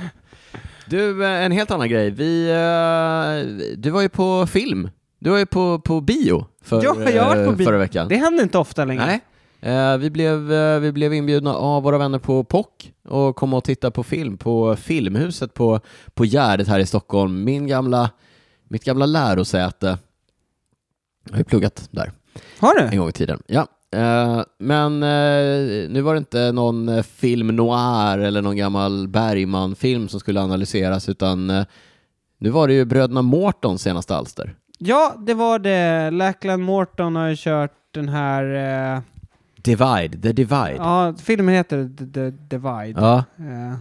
Speaker 1: Du, eh, en helt annan grej. Vi, eh, du var ju på film. Du var ju på, på bio för,
Speaker 2: Ja, jag har varit på
Speaker 1: eh,
Speaker 2: bio.
Speaker 1: förra veckan.
Speaker 2: Det händer inte ofta längre.
Speaker 1: Nej. Eh, Vi blev, eh, vi blev inbjudna av våra vänner på POC och kom och tittade på film på Filmhuset på, på Gärdet här i Stockholm. Min gamla, mitt gamla lärosäte. Jag har ju pluggat där
Speaker 2: Har
Speaker 1: en
Speaker 2: du?
Speaker 1: gång i tiden. Ja. Eh, Men eh, nu var det inte någon eh, film noir eller någon gammal Bergman-film som skulle analyseras utan eh, nu var det ju Bröderna Mårtons senaste alster.
Speaker 2: Ja, det var det. Lackland Morton har ju kört den här... Eh,
Speaker 1: Divide, The Divide.
Speaker 2: ja, filmen heter The, The Divide.
Speaker 1: Ja,
Speaker 2: Eh,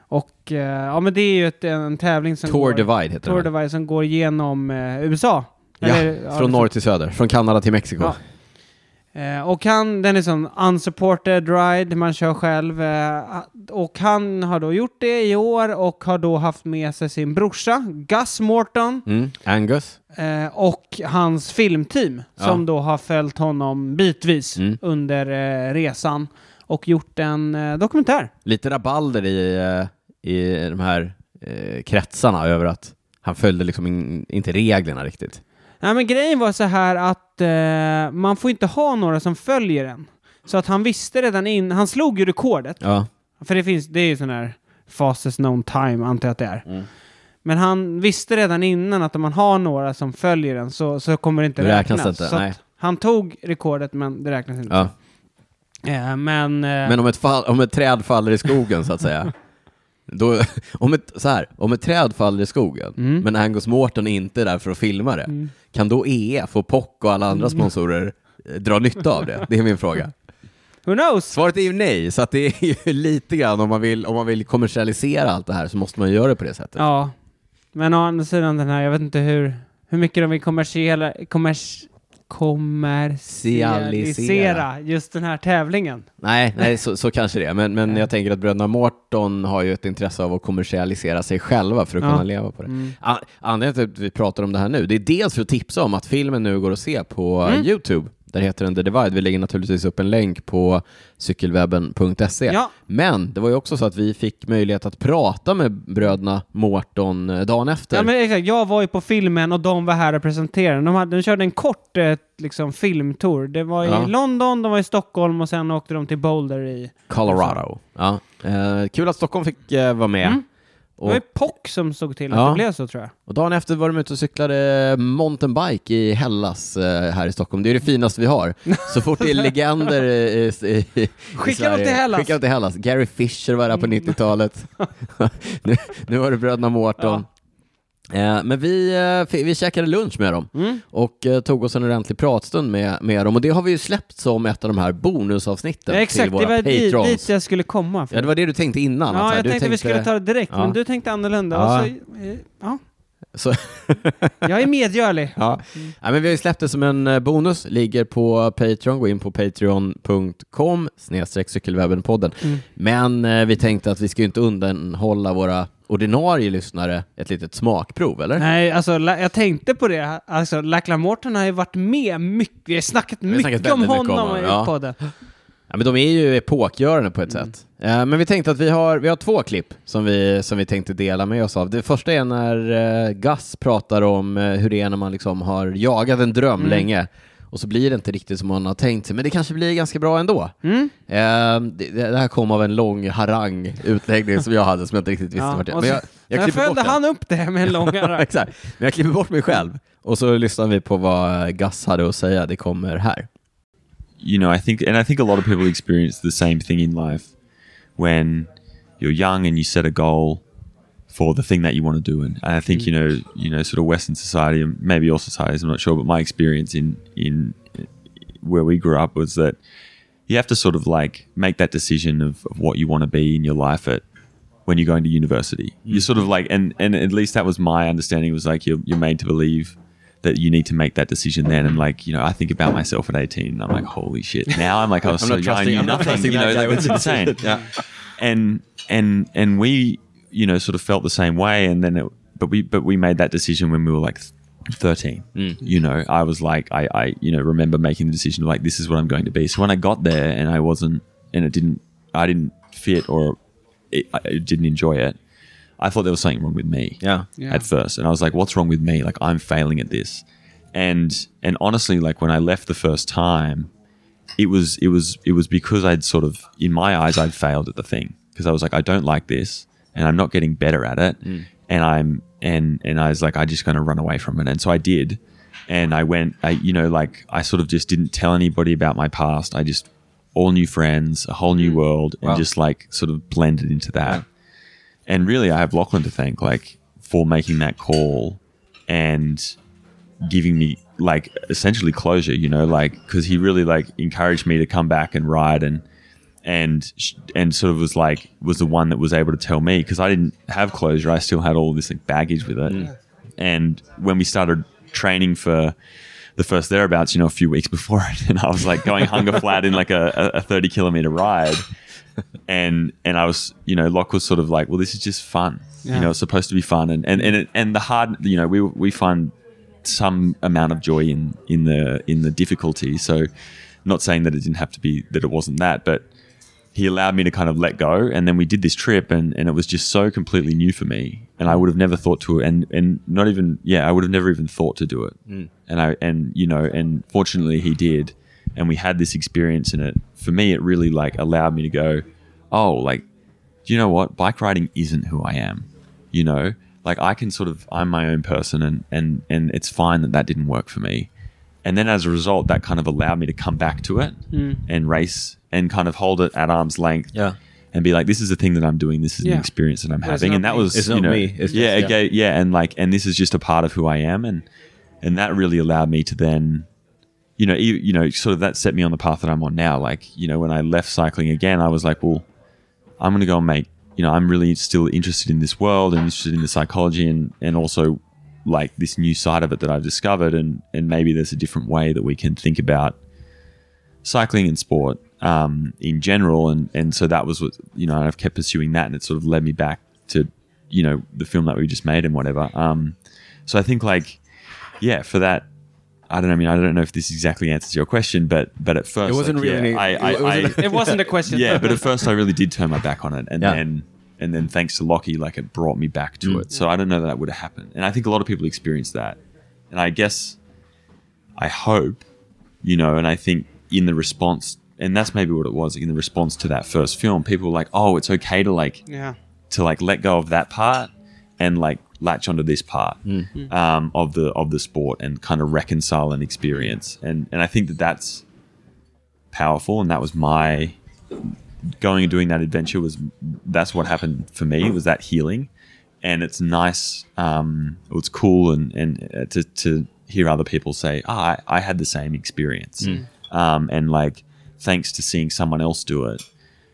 Speaker 2: och eh, ja, men det är ju ett, en tävling som
Speaker 1: Tour
Speaker 2: går...
Speaker 1: Divide heter
Speaker 2: Tour
Speaker 1: den.
Speaker 2: Divide som går genom eh, USA.
Speaker 1: Ja, Från norr till söder, från Kanada till Mexiko.
Speaker 2: Ja. Eh, och han, den är som unsupported ride, man kör själv. Eh, och han har då gjort det i år och har då haft med sig sin brorsa, Gus Morton,
Speaker 1: Mm. Angus.
Speaker 2: eh, och hans filmteam
Speaker 1: Ja.
Speaker 2: som då har följt honom bitvis
Speaker 1: Mm.
Speaker 2: under eh, resan och gjort en eh, dokumentär.
Speaker 1: Lite rabalder i, eh, i de här eh, kretsarna över att han följde liksom in, inte reglerna riktigt.
Speaker 2: Nej, men grejen var så här att eh, man får inte ha några som följer en. Så att han visste redan in, han slog ju rekordet.
Speaker 1: Ja.
Speaker 2: För det finns, det är ju sån här fastest known time, antar jag att det är.
Speaker 1: Mm.
Speaker 2: Men han visste redan innan att om man har några som följer den så, så kommer det inte
Speaker 1: Det räknas
Speaker 2: räknas.
Speaker 1: inte,
Speaker 2: så att
Speaker 1: nej.
Speaker 2: han tog rekordet, men det räknas inte.
Speaker 1: Ja.
Speaker 2: Eh, men... eh,
Speaker 1: Men om ett, fall, om ett träd faller i skogen så att säga. Då, om, ett, så här, om ett träd faller i skogen,
Speaker 2: Mm.
Speaker 1: men Angus Morton inte är där för att filma det,
Speaker 2: Mm.
Speaker 1: kan då EF och POC och alla andra sponsorer eh, dra nytta av det? Det är min fråga.
Speaker 2: Who knows?
Speaker 1: Svaret är ju nej, så att det är ju <laughs> lite grann om man, vill, om man vill kommersialisera allt det här så måste man ju göra det på det sättet.
Speaker 2: Ja. Men å andra sidan den här, jag vet inte hur, hur mycket de vill kommersiella, kommers, kommersialisera just den här tävlingen.
Speaker 1: Nej, nej så, så kanske det är. Men, men jag tänker att bröderna Morton har ju ett intresse av att kommersialisera sig själva för att
Speaker 2: Ja.
Speaker 1: kunna leva på det.
Speaker 2: Mm.
Speaker 1: A- Anledningen till att vi pratar om det här nu, det är dels för att tipsa om att filmen nu går att se på eh,
Speaker 2: Mm.
Speaker 1: YouTube. Där heter den The Divide. Vi lägger naturligtvis upp en länk på cykelwebben.se.
Speaker 2: Ja.
Speaker 1: Men det var ju också så att vi fick möjlighet att prata med bröderna Morton eh, dagen efter.
Speaker 2: Ja, men exakt. Jag var ju på filmen och de var här och presenterade. den. De, hade, de körde en kort eh, liksom, filmtour. Det var i
Speaker 1: Ja.
Speaker 2: London, de var i Stockholm och sen åkte de till Boulder i...
Speaker 1: Colorado. Ja. Eh, kul att Stockholm fick eh, vara med.
Speaker 2: Mm. Det
Speaker 1: Och
Speaker 2: var ju POC som såg till att
Speaker 1: Ja.
Speaker 2: det blev så tror jag.
Speaker 1: Och dagen efter var de ute och cyklade mountainbike i Hellas eh, här i Stockholm. Det är det finaste vi har. Så fort det är legender i, i, i
Speaker 2: Skicka
Speaker 1: Sverige-
Speaker 2: dem till Hellas. Mm.
Speaker 1: Skicka dem till Hellas. Gary Fisher var där på
Speaker 2: <laughs>
Speaker 1: 90-talet. nu, nu var det bröderna Mårton. Eh, men vi, eh, fi- vi käkade lunch med dem
Speaker 2: Mm.
Speaker 1: och eh, tog oss en ordentlig pratstund med, med dem. Och det har vi ju släppt som ett av de här bonusavsnitten
Speaker 2: Ja, exakt,
Speaker 1: till
Speaker 2: det
Speaker 1: våra
Speaker 2: var dit,
Speaker 1: patrons.
Speaker 2: dit jag skulle komma.
Speaker 1: Ja, det var det du tänkte innan. att så
Speaker 2: ja
Speaker 1: här,
Speaker 2: jag
Speaker 1: du
Speaker 2: tänkte vi skulle ta det direkt,
Speaker 1: Ja.
Speaker 2: men du tänkte annorlunda.
Speaker 1: Ja.
Speaker 2: Och så, eh, ja.
Speaker 1: Så-
Speaker 2: <laughs> jag är medgörlig.
Speaker 1: Ja. ja, men vi har ju släppt det som en eh, bonus, ligger på Patreon, gå in på patreon.com snedstreck cykelwebbenpodden.
Speaker 2: Mm.
Speaker 1: Men eh, vi tänkte att vi ska ju inte undanhålla våra ordinarie lyssnare ett litet smakprov, eller?
Speaker 2: Nej, alltså la- jag tänkte på det. Alltså, Lackla Morton har ju varit med mycket. Vi har snackat
Speaker 1: har
Speaker 2: mycket
Speaker 1: snackat
Speaker 2: om
Speaker 1: väldigt mycket om
Speaker 2: honom
Speaker 1: honom,
Speaker 2: i
Speaker 1: ja.
Speaker 2: podden.
Speaker 1: Ja, men de är ju epokgörande på ett
Speaker 2: Mm.
Speaker 1: sätt. Eh, men vi tänkte att vi har, vi har två klipp som vi, som vi tänkte dela med oss av. Det första är när eh, Gus pratar om eh, hur det är när man liksom har jagat en dröm
Speaker 2: Mm.
Speaker 1: länge och så blir det inte riktigt som man har tänkt sig, men det kanske blir ganska bra ändå.
Speaker 2: Mm.
Speaker 1: Eh, det, det här kom av en lång harang, utläggning som jag hade som jag inte riktigt visste
Speaker 2: Ja,
Speaker 1: vart det
Speaker 2: och
Speaker 1: Men jag,
Speaker 2: så-
Speaker 1: jag
Speaker 2: Jag Sen
Speaker 1: klipper bort
Speaker 2: följde
Speaker 1: den.
Speaker 2: han upp det här med en lång
Speaker 1: <laughs> Ja, <laughs>
Speaker 2: arm.
Speaker 1: Exakt. Men jag klipper bort mig själv och så lyssnar vi på vad eh, Gus hade att säga. Det kommer här.
Speaker 3: you know, I think, and I think a lot of people experience the same thing in life when you're young and you set a goal for the thing that you want to do. And, and I
Speaker 1: Mm.
Speaker 3: think, you know, you know, sort of Western society and maybe all societies, I'm not sure, but my experience in, in where we grew up was that you have to sort of like make that decision of, of what you want to be in your life at when you're going to university.
Speaker 1: Mm.
Speaker 3: You're sort of like, and, and at least that was my understanding was like, you're, you're made to believe that you need to make that decision then. And like, you know, I think about myself at 18 and I'm like, holy shit. Now
Speaker 1: <laughs>
Speaker 3: I'm like, I was
Speaker 1: I'm
Speaker 3: so
Speaker 1: not
Speaker 3: young, I
Speaker 1: trusting-
Speaker 3: knew
Speaker 1: I'm not
Speaker 3: nothing,
Speaker 1: trusting
Speaker 3: <laughs> you know,
Speaker 1: that
Speaker 3: like,
Speaker 1: guy.
Speaker 3: it's insane.
Speaker 1: <laughs>
Speaker 3: yeah. And, and, and we, you know, sort of felt the same way. And then it, but we, but we made that decision when we were like 13
Speaker 1: Mm.
Speaker 3: you know i was like I, I you know remember making the decision like this is what i'm going to be so when i got there and i wasn't and it didn't i didn't fit or it, i I didn't enjoy it i thought there was something wrong with me
Speaker 1: Yeah.
Speaker 2: Yeah.
Speaker 3: at first and i was like what's wrong with me like i'm failing at this and and honestly like when i left the first time it was it was it was because i'd sort of in my eyes i'd failed at the thing because i was like i don't like this and i'm not getting better at it and i'm and and i was like i just going to run away from it and so i did and i went i you know like i sort of just didn't tell anybody about my past i just all new friends a whole new world and
Speaker 1: Wow.
Speaker 3: just like sort of blended into that and really I have Lachlan to thank like for making that call and giving me like essentially closure you know like because he really like encouraged me to come back and ride and and sh- and sort of was like was the one that was able to tell me because I didn't have closure I still had all this like baggage with it and when we started training for the first thereabouts you know a few weeks <laughs> before it and I was like going hunger flat in like a, a a 30 kilometer ride and and I was you know Locke was sort of like well this is just fun
Speaker 2: Yeah.
Speaker 3: you know it's supposed to be fun and and and, it, and the hard you know we we find some amount of joy in in the in the difficulty so not saying that it didn't have to be that it wasn't that but he allowed me to kind of let go and then we did this trip and and it was just so completely new for me and I would have never thought to and and not even yeah I would have never even thought to do it and I and you know and fortunately he did and we had this experience and it for me it really like allowed me to go oh like do you know what bike riding isn't who I am you know like I can sort of I'm my own person and and and it's fine that that didn't work for me and then as a result that kind of allowed me to come back to it and race and kind of hold it at arm's length
Speaker 1: Yeah.
Speaker 3: and be like, this is the thing that I'm doing. This is
Speaker 2: Yeah.
Speaker 3: an experience that I'm
Speaker 2: Well, it's
Speaker 3: having.
Speaker 2: not
Speaker 3: And that
Speaker 2: me.
Speaker 3: was,
Speaker 1: It's
Speaker 3: you
Speaker 1: not
Speaker 3: know,
Speaker 1: me. It's just-
Speaker 3: yeah,
Speaker 1: yeah.
Speaker 3: okay, yeah, and like, and this is just a part of who I am, and and that really allowed me to then, you know, e, you, you know, sort of that set me on the path that I'm on now. Like, you know, when I left cycling again, I was like, well, I'm gonna go and make, you know, I'm really still interested in this world and interested in the psychology and and also like this new side of it that I've discovered, and and maybe there's a different way that we can think about cycling and sport um, in general, and and so that was what you know. And I've kept pursuing that, and it sort of led me back to you know the film that we just made and whatever. Um, so I think like yeah, for that. I don't know. I mean, I don't know if this exactly answers your question, but but at first
Speaker 1: It wasn't
Speaker 3: like, yeah,
Speaker 1: really. e-
Speaker 3: I, I,
Speaker 1: it wasn't-
Speaker 3: I-
Speaker 2: it wasn't a question.
Speaker 3: yeah, but at first I really did turn my back on it, and
Speaker 1: Yeah.
Speaker 3: then and then thanks to Lockie, like it brought me back to it. So I don't know that that would have happened, and I think a lot of people experience that, and I guess I hope you know, and I think in the response, and that's maybe what it was in the response to that first film, people were like, oh, it's okay to like
Speaker 2: yeah.
Speaker 3: to like let go of that part and like latch onto this part um, of the of the sport and kind of reconcile an experience and and I think that that's powerful and that was my going and doing that adventure was that's what happened for me was that healing and it's nice um, it's cool and and uh, to to hear other people say ah I, I had the same experience um, and like thanks to seeing someone else do it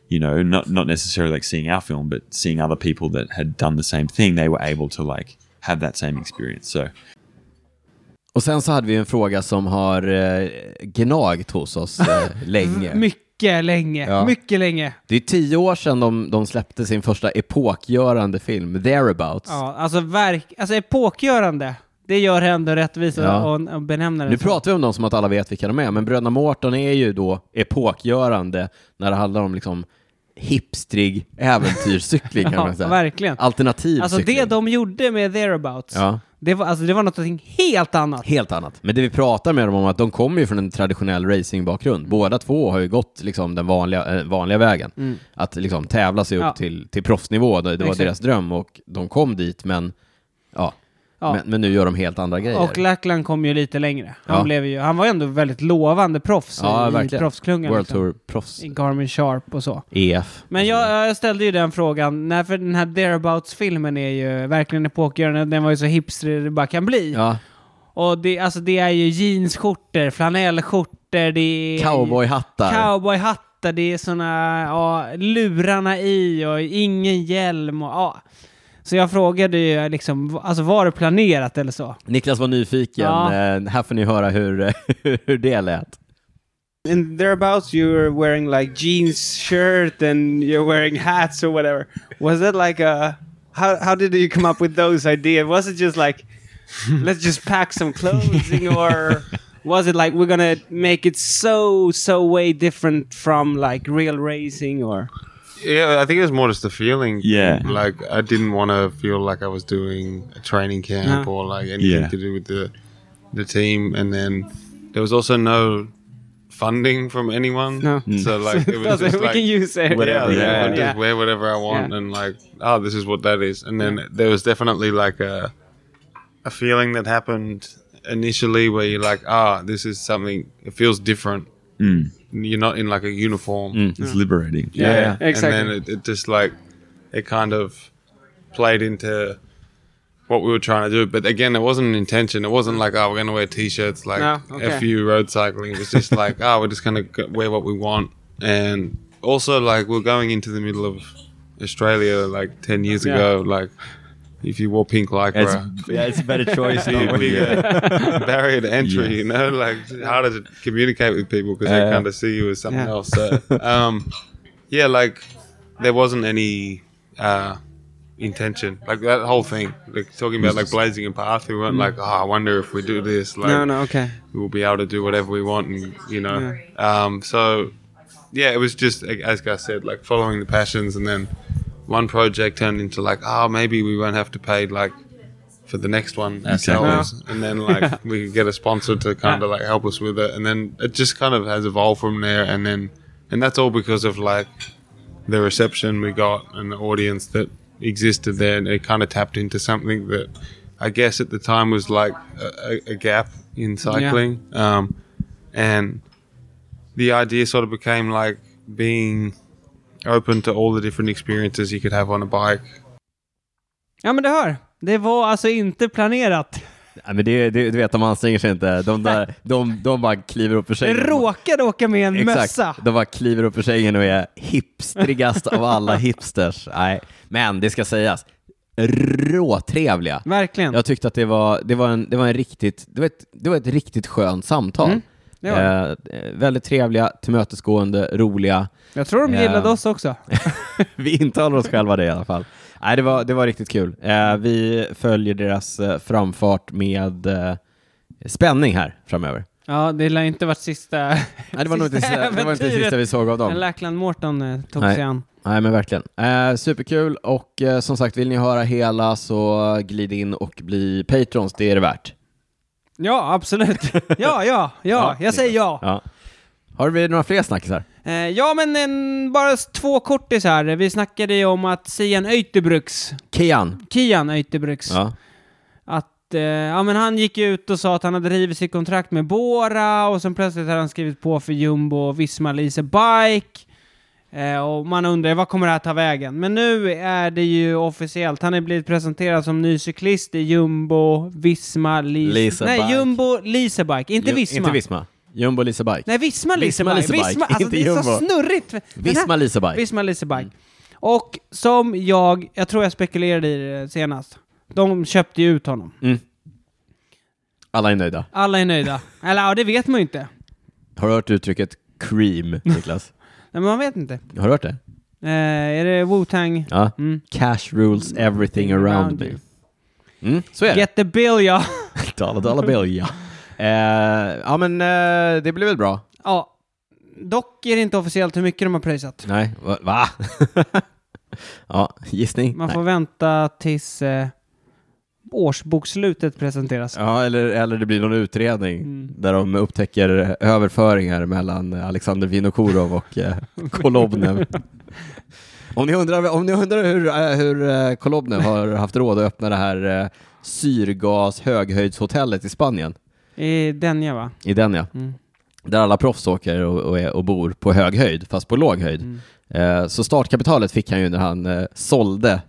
Speaker 3: you know, not not necessarily like seeing our film, but seeing other people that had done the same thing, they were able to like have that same experience. So
Speaker 1: Och sen så hade vi en fråga som har eh, gnagt hos oss
Speaker 2: <laughs>
Speaker 1: eh, länge.
Speaker 2: Mycket länge.
Speaker 1: Ja.
Speaker 2: Mycket länge.
Speaker 1: Det är tio år sedan de, de släppte sin första epokgörande film, Thereabouts.
Speaker 2: Ja, alltså, verk, alltså epokgörande. Det gör ändå rättvisa
Speaker 1: Ja.
Speaker 2: och, och benämna det
Speaker 1: Nu
Speaker 2: så.
Speaker 1: pratar vi om dem som att alla vet vilka de är, men Bröderna Mårton är ju då epokgörande när det handlar om liksom hipstrig äventyrscykling, kan man
Speaker 2: <laughs> Ja,
Speaker 1: säga.
Speaker 2: verkligen.
Speaker 1: Alternativ
Speaker 2: Alltså
Speaker 1: cykling.
Speaker 2: det de gjorde med Thereabouts,
Speaker 1: Ja.
Speaker 2: det, var, alltså, det var något helt annat.
Speaker 1: Helt annat. Men det vi pratar med dem om är att de kommer ju från en traditionell
Speaker 2: Mm.
Speaker 1: racingbakgrund. Båda två har ju gått liksom den vanliga, eh, vanliga vägen. Att liksom tävla sig upp
Speaker 2: Mm. Ja.
Speaker 1: till, till proffsnivå, det, det var
Speaker 2: Exakt.
Speaker 1: deras dröm och de kom dit men, ja.
Speaker 2: Ja.
Speaker 1: Men, men nu gör de helt andra grejer.
Speaker 2: Och Lackland kom ju lite längre. Han,
Speaker 1: Ja.
Speaker 2: blev ju, han var ju ändå väldigt lovande proffs
Speaker 1: ja,
Speaker 2: i, i
Speaker 1: verkligen.
Speaker 2: proffsklungan.
Speaker 1: World E
Speaker 2: liksom.
Speaker 1: Tour-proffs.
Speaker 2: I Garmin Sharp och så.
Speaker 1: EF.
Speaker 2: Men
Speaker 1: Mm.
Speaker 2: jag, jag ställde ju den frågan, när, för den här Thereabouts-filmen är ju verkligen epokgörande, den var ju så hipster det bara kan bli.
Speaker 1: Ja.
Speaker 2: Och det, alltså det är ju jeansskjortor, flanellskjortor, det är...
Speaker 1: Cowboyhattar.
Speaker 2: Cowboyhattar, det är såna, ja, lurarna i och ingen hjälm och ja. Så jag frågade ju liksom, alltså var det planerat eller så?
Speaker 1: Niklas var nyfiken.
Speaker 2: Ja.
Speaker 1: Eh, här får ni höra hur, <laughs> hur det lät.
Speaker 4: in thereabouts you're wearing like jeans shirt and you're wearing hats or whatever was that like a how, how did you come up with those ideas was it just like let's just pack some clothing
Speaker 2: <laughs>
Speaker 4: or was it like we're gonna make it so so way different from like real racing or
Speaker 5: Yeah, I think it was more just the feeling.
Speaker 3: Yeah.
Speaker 5: Like I didn't want to feel like I was doing a training camp
Speaker 4: No.
Speaker 5: or like anything
Speaker 3: Yeah.
Speaker 5: to do with the the team. And then there was also no funding from anyone.
Speaker 4: No.
Speaker 2: <laughs>
Speaker 5: So
Speaker 4: <laughs>
Speaker 5: like it was
Speaker 2: Alltså,
Speaker 4: Doesn't-
Speaker 5: just
Speaker 4: we
Speaker 5: like
Speaker 4: can use it
Speaker 5: whatever.
Speaker 3: Yeah.
Speaker 5: Yeah,
Speaker 3: Yeah.
Speaker 5: I just wear whatever I want
Speaker 4: Yeah.
Speaker 5: and like oh this is what that is. And then there was definitely like a a feeling that happened initially where you're like ah this is something it feels different.
Speaker 3: Mm.
Speaker 5: You're not in like a uniform.
Speaker 3: It's liberating.
Speaker 4: Yeah, yeah, exactly.
Speaker 5: And then it, it just like it kind of played into what we were trying to do. But again, it wasn't an intention. It wasn't like oh, we're gonna wear t-shirts like
Speaker 4: No,
Speaker 5: a
Speaker 4: okay.
Speaker 5: few road cycling. It was
Speaker 4: <laughs>
Speaker 5: just like oh, we're just gonna go- wear what we want. And also like we're going into the middle of Australia like ten years
Speaker 4: Yeah.
Speaker 5: ago. Like if you wore pink
Speaker 3: It's,
Speaker 5: lycra.
Speaker 3: yeah, it's a better choice.
Speaker 5: Not really
Speaker 3: yeah.
Speaker 5: a <laughs> barrier to entry,
Speaker 3: Yeah.
Speaker 5: you know, like it's harder to communicate with people because they
Speaker 3: Yeah.
Speaker 5: kind of see you as something
Speaker 4: Yeah.
Speaker 5: else. So, um, yeah, like there wasn't any uh, intention, like that whole thing, like talking about like blazing a path. We weren't like,
Speaker 3: Mm-hmm.
Speaker 5: oh, I wonder if we do this, like
Speaker 4: no no okay
Speaker 5: we'll be able to do whatever we want, and you know, um, so yeah, it was just like, as Gus said, like following the passions, and then one project turned into like, oh, maybe we won't have to pay like for the next one
Speaker 3: Exactly.
Speaker 5: ourselves, and then like we could get a sponsor to kind of like help us with it, and then it just kind of has evolved from there, and then and that's all because of like the reception we got and the audience that existed there, and it kind of tapped into something that I guess at the time was like a, a, a gap in cycling, um, and the idea sort of became like being open to all the different experiences you could have on a bike.
Speaker 2: Ja, men du hör. Det var alltså inte planerat.
Speaker 1: Ja, men det, det, du vet, de anstränger sig inte. De, där, de, de bara kliver upp ur
Speaker 2: Jag
Speaker 1: sängen.
Speaker 2: råkade åka med en
Speaker 1: Exakt.
Speaker 2: mössa.
Speaker 1: De bara kliver upp ur sängen och är hipstrigast av <laughs> alla hipsters. Nej. Men det ska sägas, råtrevliga.
Speaker 2: Verkligen.
Speaker 1: Jag tyckte att det var, det var, en, det var, en riktigt, det var, ett, det var ett riktigt skönt samtal.
Speaker 2: det var det.
Speaker 1: Eh, eh, väldigt trevliga, tillmötesgående, roliga.
Speaker 2: Jag tror de
Speaker 1: Ja.
Speaker 2: gillade oss också.
Speaker 1: <laughs> vi intalar oss själva det i alla fall. Nej, det var, det var riktigt kul. Eh, vi följer deras eh, framfart med eh, spänning här framöver.
Speaker 2: Ja, det lär inte varit <laughs> sista...
Speaker 1: Nej, det var nog inte, sista- det var inte det sista vi såg av dem.
Speaker 2: Lackland Morton eh, tog
Speaker 1: Nej.
Speaker 2: sig an.
Speaker 1: Nej men verkligen. Eh, superkul och eh, som sagt vill ni höra hela så glid in och bli patrons, det är det värt.
Speaker 2: Ja,
Speaker 1: <laughs>
Speaker 2: absolut. Ja, ja, ja. jag säger ja.
Speaker 1: Ja. Har det blivit några fler snackisar?
Speaker 2: Eh, ja, men en, bara s- två kortisar. Vi snackade ju om att Sian Öyttebrüks,
Speaker 1: Kian.
Speaker 2: Kian Öyttebrüks,
Speaker 1: Ja.
Speaker 2: att eh, ja, men han gick ut och sa att han hade rivit sitt kontrakt med Bora och sen plötsligt hade han skrivit på för Jumbo och Visma Lease Bike. Eh, och man undrar vad kommer det här ta vägen? Men nu är det ju officiellt. Han är blivit presenterad som ny cyklist i Jumbo, Visma, Lease...
Speaker 1: Lease
Speaker 2: Nej,
Speaker 1: Bike.
Speaker 2: Jumbo, Lease Bike. Inte
Speaker 1: Ju-
Speaker 2: Visma.
Speaker 1: Inte Visma. Jumbo Lisa Bike.
Speaker 2: Nej, Visma Lease
Speaker 1: Visma
Speaker 2: Bike.
Speaker 1: Lease Bike,
Speaker 2: Visma, alltså
Speaker 1: inte
Speaker 2: det är så
Speaker 1: Jumbo.
Speaker 2: snurrigt. Den
Speaker 1: Visma
Speaker 2: här-
Speaker 1: Lisa Bike.
Speaker 2: Visma Lease
Speaker 1: Mm.
Speaker 2: Bike. Och som jag, jag tror jag spekulerade i det senast, de köpte ju ut honom.
Speaker 1: Alla är nöjda.
Speaker 2: Alla är nöjda. Eller ja, det vet man ju inte.
Speaker 1: Har du hört uttrycket cream, Niklas?
Speaker 2: Nej, men man vet inte.
Speaker 1: Har du hört det?
Speaker 2: Eh, är det Wu-Tang?
Speaker 1: Ja.
Speaker 2: Mm.
Speaker 1: Cash rules everything around me. Mm, så är det.
Speaker 2: Get the bill, ja.
Speaker 1: Dollar dollar bill, ja. <laughs> Eh, ja men eh, det blir väl bra.
Speaker 2: ja. Dock är det inte officiellt hur mycket de har pröjsat.
Speaker 1: Nej, va? va? <laughs> ja, gissning?
Speaker 2: Man
Speaker 1: Nej.
Speaker 2: får vänta tills eh, årsbokslutet presenteras.
Speaker 1: Ja, eller, eller det blir någon utredning där de upptäcker överföringar mellan Alexander Vinokurov och eh, Kolobnev. om, ni undrar, om ni undrar hur, eh, hur eh, Kolobnev har haft råd att öppna det här eh, syrgas höghöjdshotellet i Spanien,
Speaker 2: I Denja, va?
Speaker 1: i Denja,
Speaker 2: Mm.
Speaker 1: där alla proffs åker och, och, är, och bor på hög höjd, fast på låg höjd.
Speaker 2: Mm.
Speaker 1: Eh, så startkapitalet fick han ju när han eh, sålde,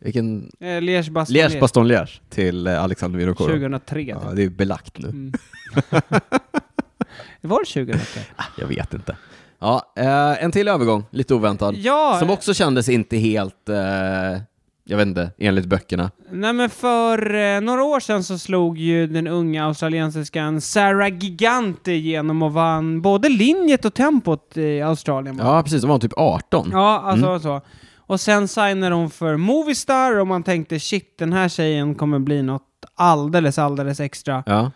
Speaker 1: vilken?
Speaker 2: Eh, Liège, Baston,
Speaker 1: Liège Baston Liège till eh, Alexander Vinokurov.
Speaker 2: 2003. typ.
Speaker 1: Ja, det är belagt nu.
Speaker 2: Mm. Var det 2003?
Speaker 1: Jag vet inte. Ja, eh, en till övergång, lite oväntad.
Speaker 2: Ja,
Speaker 1: Som också kändes inte helt, eh, jag vet inte, enligt böckerna.
Speaker 2: Nej men för eh, några år sedan så slog ju den unga australiensiskan Sarah Gigante igenom och vann både linjet och tempot i Australien. va?
Speaker 1: Ja, Mm. precis. De var typ 18.
Speaker 2: ja alltså så. Och sen signade hon för Movistar och man tänkte shit, den här tjejen kommer bli något alldeles, alldeles extra.
Speaker 1: Ja.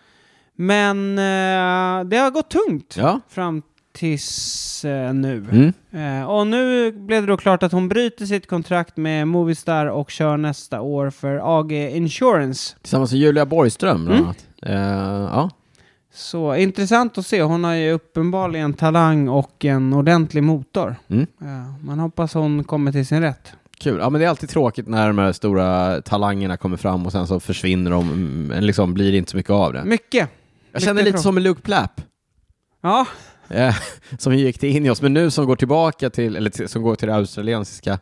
Speaker 2: Men eh, det har gått tungt
Speaker 1: Ja.
Speaker 2: fram tills eh, nu.
Speaker 1: Mm.
Speaker 2: Eh, och nu blev det då klart att hon bryter sitt kontrakt med Movistar och kör nästa år för AG Insurance.
Speaker 1: Tillsammans med Julia Borgström
Speaker 2: Mm.
Speaker 1: bland annat. Eh, ja.
Speaker 2: Så intressant att se. Hon har ju uppenbarligen talang och en ordentlig motor.
Speaker 1: Mm.
Speaker 2: Eh, man hoppas hon kommer till sin rätt.
Speaker 1: Kul. Ja, men det är alltid tråkigt när de här stora talangerna kommer fram och sen så försvinner de. Mm, Liksom blir det inte så mycket av det.
Speaker 2: Mycket.
Speaker 1: Jag känner
Speaker 2: mycket
Speaker 1: lite som med Luke Plapp.
Speaker 2: Ja,
Speaker 1: eh, <laughs> som gick till Ineos, men nu som går tillbaka till, eller till, som går till det australiensiska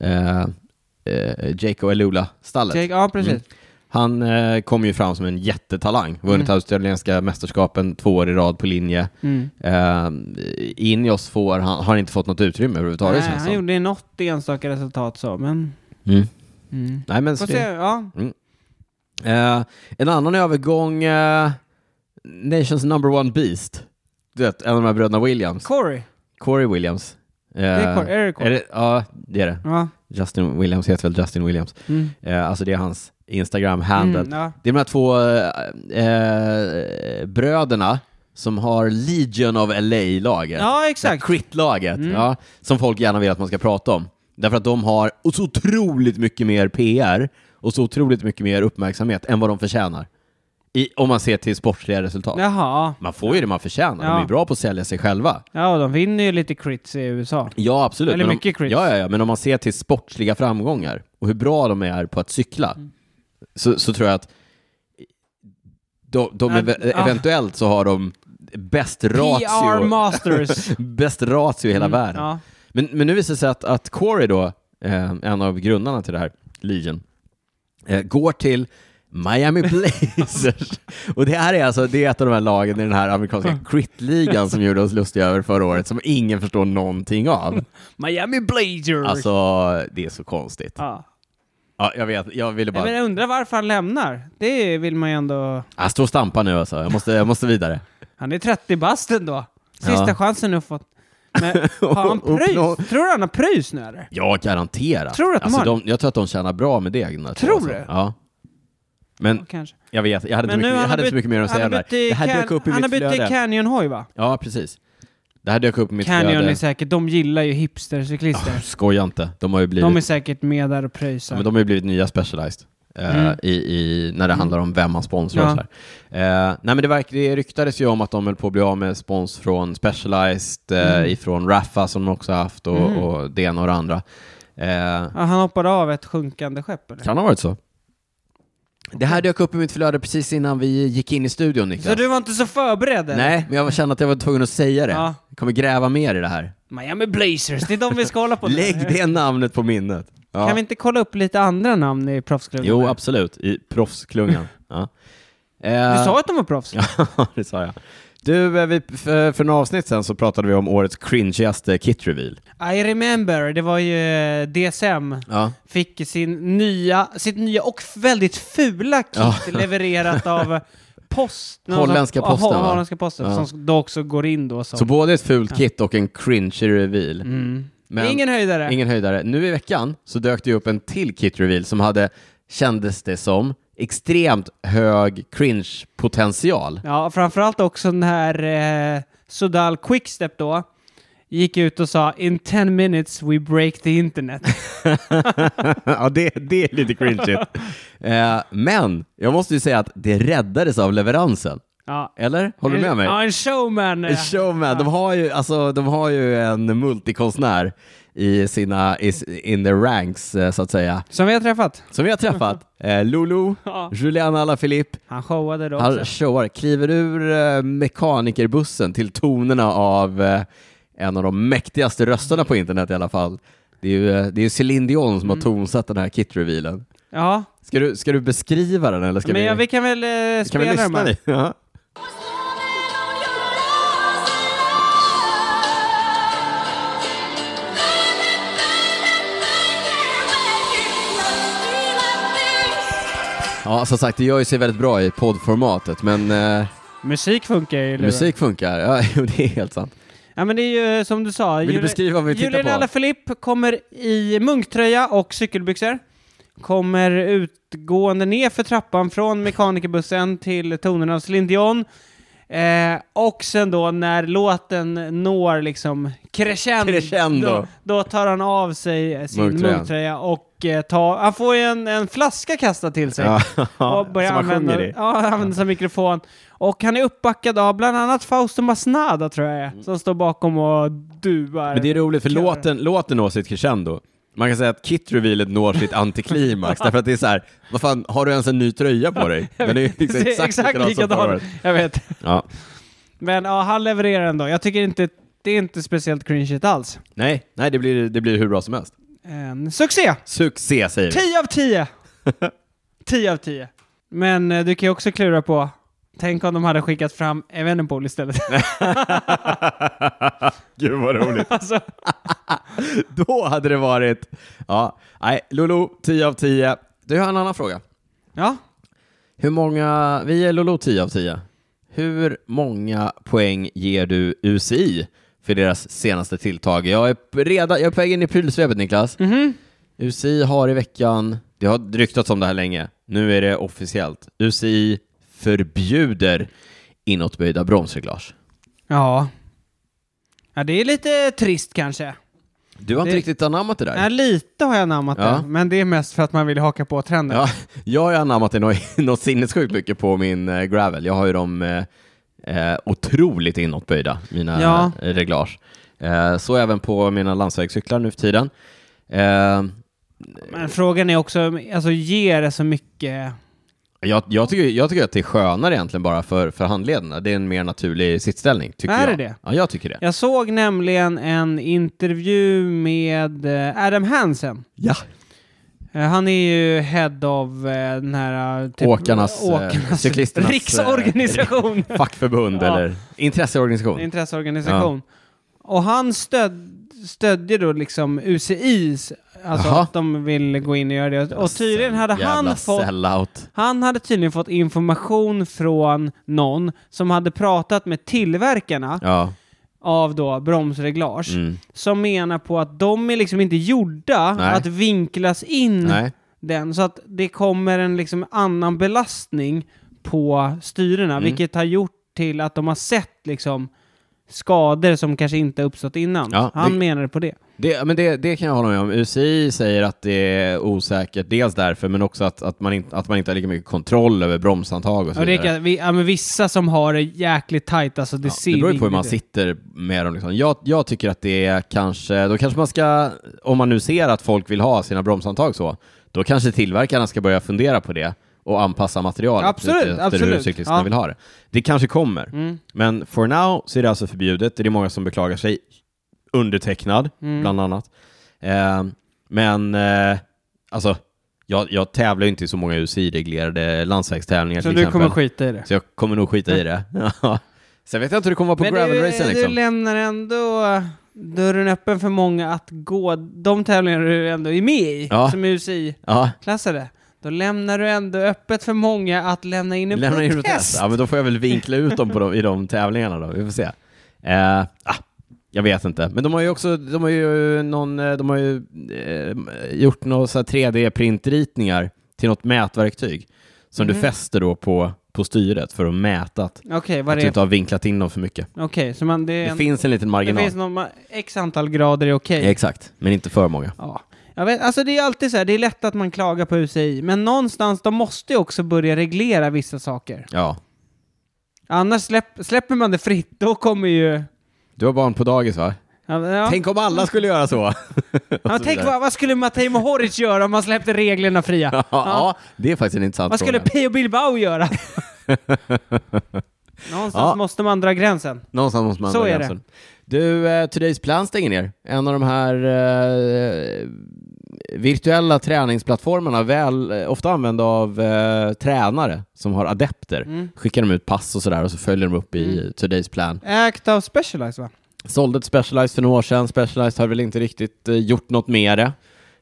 Speaker 1: eh, eh, Jaco Elula-stallet.
Speaker 2: Jake, ja precis.
Speaker 1: Mm. Han eh, kom ju fram som en jättetalang, vunnit australienska mästerskapen två år i rad på linje.
Speaker 2: Mm.
Speaker 1: Eh, Ineos får, han, har inte fått något utrymme överhuvudtaget
Speaker 2: Mm. Nej,
Speaker 1: känns
Speaker 2: han
Speaker 1: det som.
Speaker 2: gjorde något enstaka resultat så, men...
Speaker 1: mm.
Speaker 2: Mm.
Speaker 1: Nej, men
Speaker 2: Får
Speaker 1: så
Speaker 2: se,
Speaker 1: det,
Speaker 2: ja.
Speaker 1: eh, En annan övergång, eh, Nations number one beast. Du vet, en av de här bröderna Williams,
Speaker 2: Corey.
Speaker 1: Corey Williams. Eh,
Speaker 2: Det är Corey. Är det Corey?
Speaker 1: Är det, ja, det är det.
Speaker 2: Ja.
Speaker 1: Justin Williams heter väl Justin Williams.
Speaker 2: Mm.
Speaker 1: Eh, alltså det är hans Instagram-handle.
Speaker 2: Mm, ja.
Speaker 1: Det är de här två eh, eh, bröderna som har Legion of LA-laget.
Speaker 2: ja, exakt. Mm.
Speaker 1: Crit-laget, ja, som folk gärna vill att man ska prata om. Därför att de har så otroligt mycket mer PR och så otroligt mycket mer uppmärksamhet än vad de förtjänar. I, om man ser till sportsliga resultat.
Speaker 2: Jaha.
Speaker 1: Man får ju det man förtjänar.
Speaker 2: Ja.
Speaker 1: De är bra på att sälja sig själva.
Speaker 2: Ja, och de vinner ju lite crits i USA.
Speaker 1: Ja, absolut.
Speaker 2: Eller
Speaker 1: Men
Speaker 2: mycket
Speaker 1: om,
Speaker 2: crits.
Speaker 1: ja, ja, ja, men om man ser till sportsliga framgångar och hur bra de är på att cykla,
Speaker 2: Mm.
Speaker 1: så, så tror jag att de, de
Speaker 2: Ja,
Speaker 1: ev-
Speaker 2: ah.
Speaker 1: eventuellt så har de bäst
Speaker 2: PR
Speaker 1: ratio,
Speaker 2: Masters.
Speaker 1: bäst ratio i hela <laughs>
Speaker 2: Mm,
Speaker 1: världen.
Speaker 2: Ja.
Speaker 1: Men, men nu visar det sig att, att Corey då, eh, en av grundarna till det här, Legion, eh, går till Miami Blazers.
Speaker 2: <laughs>
Speaker 1: och det här är alltså, det är ett av de här lagen i den här amerikanska crit-ligan som gjorde oss lustiga över förra året, som ingen förstår någonting av.
Speaker 2: Miami Blazers.
Speaker 1: Alltså, det är så konstigt.
Speaker 2: Ja.
Speaker 1: Ja, jag vet, jag ville
Speaker 2: Nej,
Speaker 1: bara...
Speaker 2: men jag undrar varför han lämnar. Det vill man ju ändå...
Speaker 1: Jag står och stampar nu alltså, jag måste, jag måste vidare.
Speaker 2: Han är 30 bast ändå. Sista
Speaker 1: Ja.
Speaker 2: chansen nu fått. Men
Speaker 1: <laughs>
Speaker 2: har han
Speaker 1: Och- och
Speaker 2: pröjs?
Speaker 1: nå-
Speaker 2: Tror du han har pröjs nu eller?
Speaker 1: Ja, garanterat.
Speaker 2: Tror du att de
Speaker 1: alltså,
Speaker 2: har
Speaker 1: de, Jag tror att de tjänar bra med det. Gunnar,
Speaker 2: Tror
Speaker 1: jag,
Speaker 2: du?
Speaker 1: alltså. Ja. Men
Speaker 2: Kanske.
Speaker 1: jag vet, jag hade inte, mycket, jag hade inte så mycket mer att säga om det
Speaker 2: han
Speaker 1: här.
Speaker 2: har bytt i
Speaker 1: Det här
Speaker 2: can-
Speaker 1: dök upp i
Speaker 2: Han har
Speaker 1: mitt
Speaker 2: bytt i
Speaker 1: flöde.
Speaker 2: Canyon-hoj va?
Speaker 1: Ja, precis. Det här dök upp i mitt
Speaker 2: Canyon är
Speaker 1: flöde.
Speaker 2: säkert, de gillar ju hipstercyklister.
Speaker 1: Skoja inte, de har ju blivit,
Speaker 2: de
Speaker 1: de
Speaker 2: är säkert med där och pröjsar.
Speaker 1: men de har ju blivit nya Specialized. eh,
Speaker 2: Mm.
Speaker 1: I, i, när det handlar om vem man sponsrar.
Speaker 2: Ja.
Speaker 1: och så här. Eh, nej men det, verk, det ryktades ju om att de höll på att bli av med spons från Specialized, eh, ifrån Rafa som de också haft och,
Speaker 2: Mm.
Speaker 1: och det ena och det andra. Eh,
Speaker 2: Ja, han hoppade av ett sjunkande skepp eller?
Speaker 1: kan ha varit så. Det här dök upp i mitt flöde precis innan vi gick in i studion
Speaker 2: Så
Speaker 1: Niklas.
Speaker 2: du var inte så förberedd? eller?
Speaker 1: Nej, men jag kände att jag var tvungen att säga det.
Speaker 2: Ja.
Speaker 1: Jag kommer gräva mer i det här.
Speaker 2: Miami Blazers, det är de vi ska hålla på nu.
Speaker 1: Lägg det namnet på minnet. Ja.
Speaker 2: Kan vi inte kolla upp lite andra namn i proffsklubben?
Speaker 1: Jo, absolut. I
Speaker 2: <laughs>
Speaker 1: proffsklungan. ja. Eh,
Speaker 2: Du sa att de var proffs?
Speaker 1: <laughs> Ja, det sa jag. Du, eh, vi, för, för några avsnitt sen så pratade vi om årets cringigaste kit reveal.
Speaker 2: I remember, det var ju eh, DSM.
Speaker 1: Ja.
Speaker 2: Fick sin nya, sitt nya och väldigt fula kit
Speaker 1: Ja.
Speaker 2: <laughs> levererat av post... någon
Speaker 1: Holländska
Speaker 2: som- ja,
Speaker 1: posten, va?
Speaker 2: Holländska posten,
Speaker 1: Ja.
Speaker 2: som då också går in då som...
Speaker 1: Så både ett fult kit och en cringy reveal.
Speaker 2: mm.
Speaker 1: Men
Speaker 2: Ingen höjdare.
Speaker 1: ingen höjdare. Nu i veckan så dök det upp en till kit reveal som hade, kändes det som, extremt hög cringe-potential.
Speaker 2: Ja, framförallt också när eh, Sudal Quickstep då gick ut och sa in 10 minutes we break
Speaker 1: <laughs>
Speaker 2: the internet.
Speaker 1: <laughs> ja, det, det är lite cringeigt. <laughs> eh, men jag måste ju säga att det räddades av leveransen.
Speaker 2: Ja.
Speaker 1: Eller? Håller du med mig?
Speaker 2: Ja, en
Speaker 1: En
Speaker 2: showman. eh.
Speaker 1: showman. De har ju, alltså, de har ju en multikonstnär i sina, is, in the ranks, eh, så att säga.
Speaker 2: Som vi har träffat.
Speaker 1: Som vi har träffat.
Speaker 2: <laughs>
Speaker 1: Eh, Lulu,
Speaker 2: Ja.
Speaker 1: Juliana Alaphilippe,
Speaker 2: Han showade då
Speaker 1: han
Speaker 2: också.
Speaker 1: showar, kliver ur eh, mekanikerbussen till tonerna av eh, en av de mäktigaste rösterna på internet i alla fall. Det är ju eh, det är ju Céline Dion
Speaker 2: Mm.
Speaker 1: som har tonsatt den här kit-revealen.
Speaker 2: Ja,
Speaker 1: Ska du, ska du beskriva den eller ska
Speaker 2: men
Speaker 1: vi,
Speaker 2: ja, vi kan väl eh,
Speaker 1: kan vi
Speaker 2: spela dem
Speaker 1: lyssna?
Speaker 2: här.
Speaker 1: i? Ja. Ja, som sagt, det gör ju sig väldigt bra i poddformatet, men eh,
Speaker 2: Musik funkar ju. luren.
Speaker 1: musik funkar. Ja, <laughs> jo, det är helt sant.
Speaker 2: Ja, men det är ju eh, som du sa.
Speaker 1: Vill du
Speaker 2: Juli-
Speaker 1: beskriva vad vi tittar
Speaker 2: Julian
Speaker 1: på?
Speaker 2: Alaphilippe kommer i munktröja och cykelbyxor. kommer utgående ner för trappan från mekanikerbussen till tonerna av Céline Dion. Eh, och sen då när låten når liksom crescendo,
Speaker 1: Crescendo.
Speaker 2: Då, då tar han av sig sin
Speaker 1: Munktröjan.
Speaker 2: munktröja och eh, tar, han får ju en, en flaska kastad till sig.
Speaker 1: Ja,
Speaker 2: Och
Speaker 1: <laughs>
Speaker 2: börjar
Speaker 1: som man
Speaker 2: använda,
Speaker 1: sjunger i.
Speaker 2: Ja, han använder som mikrofon. Och han är uppbackad av bland annat Fausto Masnada tror jag är, som står bakom och duar.
Speaker 1: Mm. Men det är roligt för
Speaker 2: Kör.
Speaker 1: låten, låten når sitt crescendo. Man kan säga att Kit-revealet når sitt
Speaker 2: <laughs>
Speaker 1: antiklimax, därför att det är så här, vad fan, har du ens en ny tröja på dig? Den är ju
Speaker 2: <laughs> Det
Speaker 1: liksom
Speaker 2: är
Speaker 1: exakt, likadan som förra året.
Speaker 2: Jag vet.
Speaker 1: Ja.
Speaker 2: Men ja, han levererar ändå. Jag tycker inte, det är inte speciellt cringeigt alls.
Speaker 1: Nej, nej det, blir, det blir hur bra som helst.
Speaker 2: En succé!
Speaker 1: Succé säger vi.
Speaker 2: 10 av
Speaker 1: <laughs>
Speaker 2: 10! 10 av 10. Men eh, du kan ju också klura på, tänk om de hade skickat fram Evenepoel istället.
Speaker 1: Gud vad roligt.
Speaker 2: <laughs> alltså,
Speaker 1: <laughs> Då hade det varit... Ja, nej, Lolo, 10 av 10. Du, jag har en annan fråga.
Speaker 2: ja.
Speaker 1: Hur många... Vi är Lolo 10 av 10. Hur många poäng ger du UCI för deras senaste tilltag? Jag är p- redan... Jag är på väg in i prylsvepet, Niklas. UCI har i veckan... Det har ryktats om det här länge. Nu är det officiellt. UCI förbjuder inåtböjda bromsreglage.
Speaker 2: Ja. Ja, det är lite trist kanske.
Speaker 1: Du har inte
Speaker 2: Det-
Speaker 1: riktigt anammat det där.
Speaker 2: Ja, lite har jag namnat
Speaker 1: Ja.
Speaker 2: det, men det är mest för att man vill haka på trenden.
Speaker 1: Ja, <laughs> jag har ju anammat det något, <laughs> något sinnessjukt mycket på min eh, gravel. Jag har ju de eh, eh, otroligt inåtböjda, mina
Speaker 2: Ja.
Speaker 1: eh, reglage. Eh, så även på mina landsvägscyklar nu för tiden. Eh,
Speaker 2: Men frågan är också, alltså ger det så mycket?
Speaker 1: jag, jag, tycker, jag tycker att det är skönare egentligen bara för, för handlederna. Det är en mer naturlig sittställning, tycker
Speaker 2: Är
Speaker 1: jag.
Speaker 2: det det?
Speaker 1: Ja, jag tycker det.
Speaker 2: Jag såg nämligen en intervju med eh, Adam Hansen.
Speaker 1: Ja.
Speaker 2: Eh, Han är ju head av eh, den här... eh, Typ,
Speaker 1: Åkarnas, eh, cyklisternas, eh, <laughs>
Speaker 2: Riksorganisation.
Speaker 1: Fackförbund
Speaker 2: Ja.
Speaker 1: eller intresseorganisation.
Speaker 2: intresseorganisation. Och han stöd, stödjer då liksom UCIs, alltså
Speaker 1: Jaha.
Speaker 2: att de vill gå in och göra det. Och tydligen hade
Speaker 1: Jävla
Speaker 2: han fått,
Speaker 1: sellout.
Speaker 2: han hade tydligen fått information från någon som hade pratat med tillverkarna
Speaker 1: Ja.
Speaker 2: av då bromsreglage,
Speaker 1: Mm.
Speaker 2: som menar på att de är liksom inte gjorda
Speaker 1: Nej.
Speaker 2: att vinklas in
Speaker 1: Nej.
Speaker 2: den, så att det kommer en liksom annan belastning på styrena,
Speaker 1: Mm.
Speaker 2: vilket har gjort till att de har sett liksom skador som kanske inte uppstått innan.
Speaker 1: Ja,
Speaker 2: Han
Speaker 1: det-
Speaker 2: menade på det.
Speaker 1: Det, men det, det kan jag hålla med om. UCI säger att det är osäkert, dels därför, men också att, att, man, inte, att man inte har lika mycket kontroll över bromshandtag och så
Speaker 2: Och det
Speaker 1: vidare.
Speaker 2: kan, vi, ja, men vissa som har det jäkligt tajt, alltså det
Speaker 1: Ja,
Speaker 2: ser
Speaker 1: det beror ju på hur
Speaker 2: ingen
Speaker 1: man
Speaker 2: idé.
Speaker 1: sitter med dem. Liksom. Jag, jag tycker att det är kanske, då kanske man ska, om man nu ser att folk vill ha sina bromshandtag så, då kanske tillverkarna ska börja fundera på det och anpassa materialet
Speaker 2: Absolut,
Speaker 1: lite efter hur
Speaker 2: absolut.
Speaker 1: cyklisterna
Speaker 2: Ja.
Speaker 1: vill ha det. Det kanske kommer,
Speaker 2: Mm.
Speaker 1: men for now så är det alltså förbjudet. Det är många som beklagar sig, undertecknad
Speaker 2: Mm.
Speaker 1: bland annat. Eh, men eh, alltså, jag, jag tävlar ju inte i så många UCI-reglerade landsvägstävlingar
Speaker 2: Så
Speaker 1: till
Speaker 2: du
Speaker 1: exempel.
Speaker 2: kommer skita i det.
Speaker 1: Så jag kommer nog skita i
Speaker 2: <laughs>
Speaker 1: det. Ja. Sen vet jag inte hur det kommer vara på
Speaker 2: Men du,
Speaker 1: gravelracen
Speaker 2: du
Speaker 1: liksom.
Speaker 2: lämnar ändå dörren öppen för många att gå de tävlingar du ändå är med i,
Speaker 1: Ja.
Speaker 2: som är UCI-klassade.
Speaker 1: Ja,
Speaker 2: Då lämnar du ändå öppet för många att lämna in en
Speaker 1: lämna in
Speaker 2: protest.
Speaker 1: protest. Ja, men då får jag väl vinkla ut dem på de, i de tävlingarna då. Vi får se. Eh, ah, jag vet inte. Men de har ju också, de har ju någon, eh, de har ju eh, gjort några 3D-printritningar till något mätverktyg som
Speaker 2: Mhm.
Speaker 1: du fäster då på, på styret för att mäta att,
Speaker 2: Okej, vad
Speaker 1: att
Speaker 2: det
Speaker 1: du
Speaker 2: är.
Speaker 1: inte har vinklat in dem för mycket.
Speaker 2: Okej, så man, det, är
Speaker 1: Det
Speaker 2: en,
Speaker 1: finns en liten
Speaker 2: det
Speaker 1: marginal.
Speaker 2: finns någon, ma- x antal grader är okej.
Speaker 1: Exakt, men inte för många.
Speaker 2: Ja. Jag vet, alltså det är alltid så här, det är lätt att man klagar på UCI, men någonstans, de måste ju också börja reglera vissa saker.
Speaker 1: Ja.
Speaker 2: Annars släpp, släpper man det fritt, då kommer ju...
Speaker 1: Du har barn på dagis va?
Speaker 2: Ja, ja.
Speaker 1: Tänk om alla skulle göra så!
Speaker 2: Ja, tänk vad, vad skulle Matej Mohoric göra om man släppte reglerna fria?
Speaker 1: <laughs> Ja, ja, det är faktiskt en intressant
Speaker 2: Vad skulle
Speaker 1: fråga.
Speaker 2: Pio
Speaker 1: <laughs>
Speaker 2: Bilbao göra? Någonstans
Speaker 1: Ja.
Speaker 2: måste man dra gränsen.
Speaker 1: Någonstans måste man
Speaker 2: Så
Speaker 1: dra
Speaker 2: är det.
Speaker 1: gränsen. Du, eh, Today's Plan stänger ner. En av de här eh, virtuella träningsplattformarna, väl, eh, ofta använda av eh, tränare som har adepter.
Speaker 2: Mm.
Speaker 1: Skickar de ut pass och sådär och så följer de upp i Today's Plan.
Speaker 2: Act of Specialized va?
Speaker 1: Sålde ett Specialized för några år sedan. Specialized har väl inte riktigt eh, gjort något med det.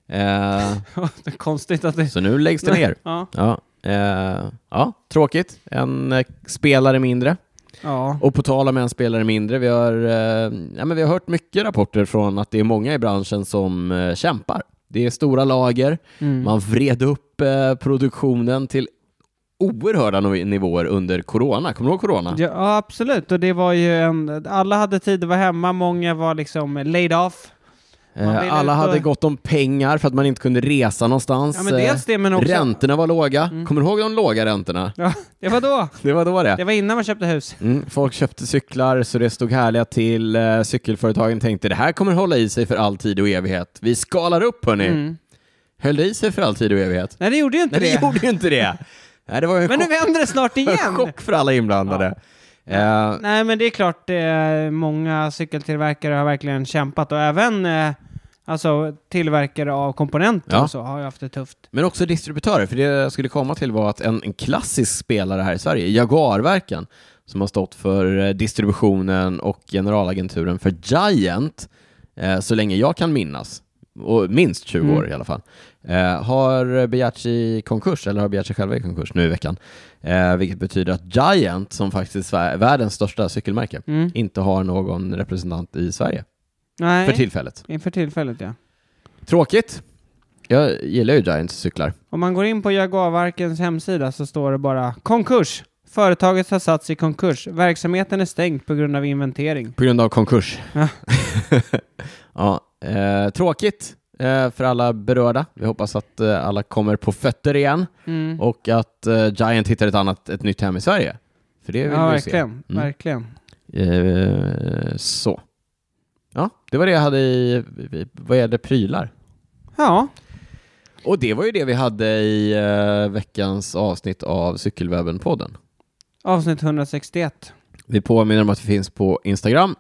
Speaker 1: Eh,
Speaker 2: Det är Konstigt att det...
Speaker 1: så nu läggs
Speaker 2: <laughs>
Speaker 1: det ner.
Speaker 2: Ja.
Speaker 1: Ja, eh, ja, tråkigt. En eh, spelare mindre.
Speaker 2: ja.
Speaker 1: Och på tal om en spelare mindre, vi har, eh, ja, men vi har hört mycket rapporter från att det är många i branschen som eh, kämpar Det är stora lager.
Speaker 2: Mm.
Speaker 1: Man vred upp eh, produktionen till oerhörda no- nivåer under corona. Kommer du ihåg corona?
Speaker 2: Ja, ja, absolut. Och det var ju en... Alla hade tid att vara hemma, många var liksom laid off. Man
Speaker 1: Eh,
Speaker 2: ville
Speaker 1: Alla
Speaker 2: ut och-
Speaker 1: hade gott om pengar för att man inte kunde resa någonstans.
Speaker 2: Ja, men
Speaker 1: Eh,
Speaker 2: dels det, men också- Mm.
Speaker 1: Räntorna var låga. Kommer du ihåg de låga räntorna?
Speaker 2: Ja, det var då.
Speaker 1: Det var då
Speaker 2: Det var innan man köpte hus.
Speaker 1: Mm, folk köpte cyklar så det stod härliga till. Eh, cykelföretagen tänkte det här kommer hålla i sig för all tid och evighet. Vi skalar upp hörni. Höll det i sig för all tid och evighet?
Speaker 2: Nej, det gjorde ju inte
Speaker 1: Nej, det
Speaker 2: Mm. det.
Speaker 1: gjorde ju inte det. Nej, det var ju en
Speaker 2: Men nu
Speaker 1: chock,
Speaker 2: vänder det
Speaker 1: <laughs>
Speaker 2: snart
Speaker 1: en
Speaker 2: igen.
Speaker 1: chock för alla inblandade. Eh,
Speaker 2: Nej, men det är klart, eh, många cykeltillverkare har verkligen kämpat och även eh, alltså, tillverkare av komponenter
Speaker 1: Ja.
Speaker 2: och så har ju haft det tufft.
Speaker 1: men också distributörer, för det jag skulle komma till var att en, en klassisk spelare här i Sverige, Jaguarverken, som har stått för eh, distributionen och generalagenturen för Giant, eh, så länge jag kan minnas, och minst 20 år i alla fall, eh, har begärt sig i konkurs, eller har begärt sig själva i konkurs nu i veckan. Eh, vilket betyder att Giant, som faktiskt är världens största cykelmärke, inte har någon representant i Sverige
Speaker 2: Nej,
Speaker 1: för tillfället.
Speaker 2: inför tillfället ja.
Speaker 1: Tråkigt. Jag gillar ju Giants cyklar.
Speaker 2: Om man går in på Jaguarverkens hemsida så står det bara konkurs. Företaget har satts i konkurs. Verksamheten är stängd på grund av inventering.
Speaker 1: På grund av konkurs.
Speaker 2: Ja.
Speaker 1: <laughs> ja, eh, tråkigt eh, för alla berörda. Vi hoppas att eh, alla kommer på fötter igen
Speaker 2: Mm.
Speaker 1: och att eh, Giant hittar ett, annat, ett nytt hem i Sverige. För det vill
Speaker 2: Ja,
Speaker 1: vi
Speaker 2: verkligen.
Speaker 1: Mm.
Speaker 2: verkligen.
Speaker 1: se. Eh, så. Ja, det var det jag hade i, i- vad gäller prylar.
Speaker 2: Ja,
Speaker 1: Och det var ju det vi hade i eh, veckans avsnitt av Cykelwebben-podden.
Speaker 2: avsnitt 161.
Speaker 1: Vi påminner om att vi finns på Instagram.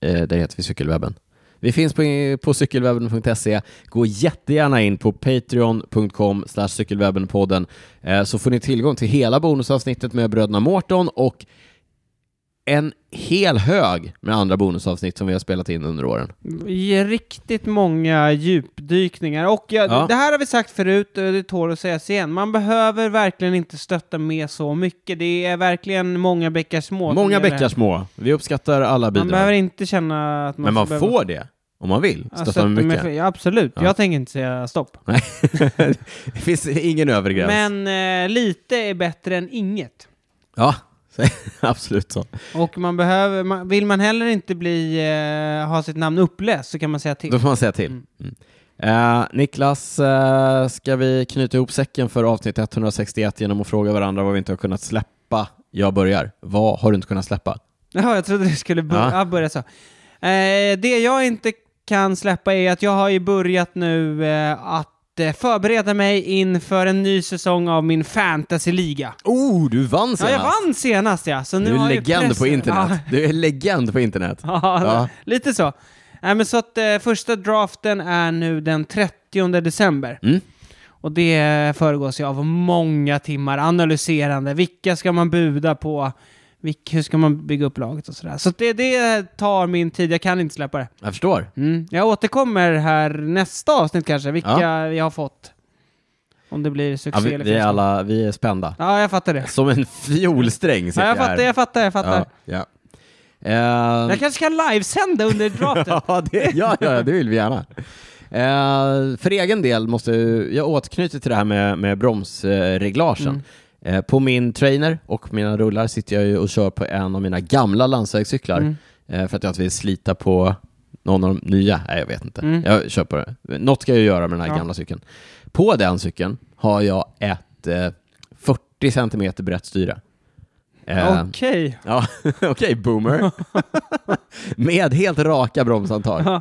Speaker 1: Eh, där heter vi Cykelwebben. Vi finns på, på cykelwebben.se. Gå jättegärna in på patreon.com slash cykelwebbenpodden eh, så får ni tillgång till hela bonusavsnittet med bröderna Mårton och en hel hög med andra bonusavsnitt som vi har spelat in under åren.
Speaker 2: I Riktigt många djupdykningar. Och jag,
Speaker 1: Ja.
Speaker 2: det här har vi sagt förut, och det tål att sägas igen. Man behöver verkligen inte stötta med så mycket. Det är verkligen många bäckar små. som
Speaker 1: Många
Speaker 2: gäller.
Speaker 1: bäckar små. Vi uppskattar alla
Speaker 2: Man behöver
Speaker 1: bidrag.
Speaker 2: inte känna att man...
Speaker 1: Men man
Speaker 2: ska behöva-
Speaker 1: får det om man vill.
Speaker 2: Ja,
Speaker 1: Stötta med mycket.
Speaker 2: för- ja, absolut.
Speaker 1: Ja.
Speaker 2: Jag tänker inte säga stopp.
Speaker 1: Nej, <laughs> det finns ingen övre gräns.
Speaker 2: Men eh, lite är bättre än inget.
Speaker 1: Ja, <laughs> absolut så.
Speaker 2: Och man behöver, man, vill man heller inte bli, eh, ha sitt namn uppläst så kan man säga till.
Speaker 1: Då får man säga till. Mm. Eh, Niklas, eh, ska vi knyta ihop säcken för avsnitt 161 genom att fråga varandra vad vi inte har kunnat släppa? Jag börjar. Vad har du inte kunnat släppa?
Speaker 2: Jaha, jag trodde du skulle bör-
Speaker 1: Ja.
Speaker 2: ja, börja så. Eh, det jag inte kan släppa är att jag har ju börjat nu eh, att eh, förbereda mig inför en ny säsong av min fantasyliga.
Speaker 1: Oh, du vann
Speaker 2: Ja,
Speaker 1: senast!
Speaker 2: jag vann senast ja. Så nu
Speaker 1: Du
Speaker 2: har
Speaker 1: är
Speaker 2: ju
Speaker 1: legend på
Speaker 2: pressen-
Speaker 1: internet.
Speaker 2: Ja.
Speaker 1: Du är legend på internet.
Speaker 2: <laughs> Ja,
Speaker 1: Ja.
Speaker 2: lite så. Nej, men så att eh, första draften är nu den 30 december.
Speaker 1: Mm.
Speaker 2: Och det föregås ju av många timmar analyserande. Vilka ska man buda på? Vilk, hur ska man bygga upp laget och sådär. Så att det, det tar min tid, jag kan inte släppa det.
Speaker 1: Jag förstår.
Speaker 2: Mm. Jag återkommer här nästa avsnitt kanske, vilka vi har fått. Om det blir
Speaker 1: Ja,
Speaker 2: succé
Speaker 1: vi,
Speaker 2: eller
Speaker 1: vi, är
Speaker 2: fiasko.
Speaker 1: alla, vi är spända.
Speaker 2: Ja, jag fattar det.
Speaker 1: Som en fiolsträng sitter
Speaker 2: Ja, jag fattar,
Speaker 1: här.
Speaker 2: jag fattar, jag fattar.
Speaker 1: Ja, ja. Eh,
Speaker 2: Jag kanske kan
Speaker 1: <laughs>
Speaker 2: livesända under draften.
Speaker 1: Ja, det, ja, ja, det vill vi gärna. Eh, för egen del måste jag- jag återknyter till det här med, med bromsreglagen. Eh, på min trainer och mina rullar sitter jag ju och kör på en av mina gamla landsvägscyklar eh, för att jag inte vill slita på någon av de nya. Nej, jag vet inte. Jag kör på det. Något ska jag ju göra med den här gamla cykeln. På den cykeln har jag ett eh, 40 cm brett styre. Eh,
Speaker 2: Okej.
Speaker 1: Ja, <laughs> okej
Speaker 2: <laughs>
Speaker 1: boomer. Med helt raka bromshandtag.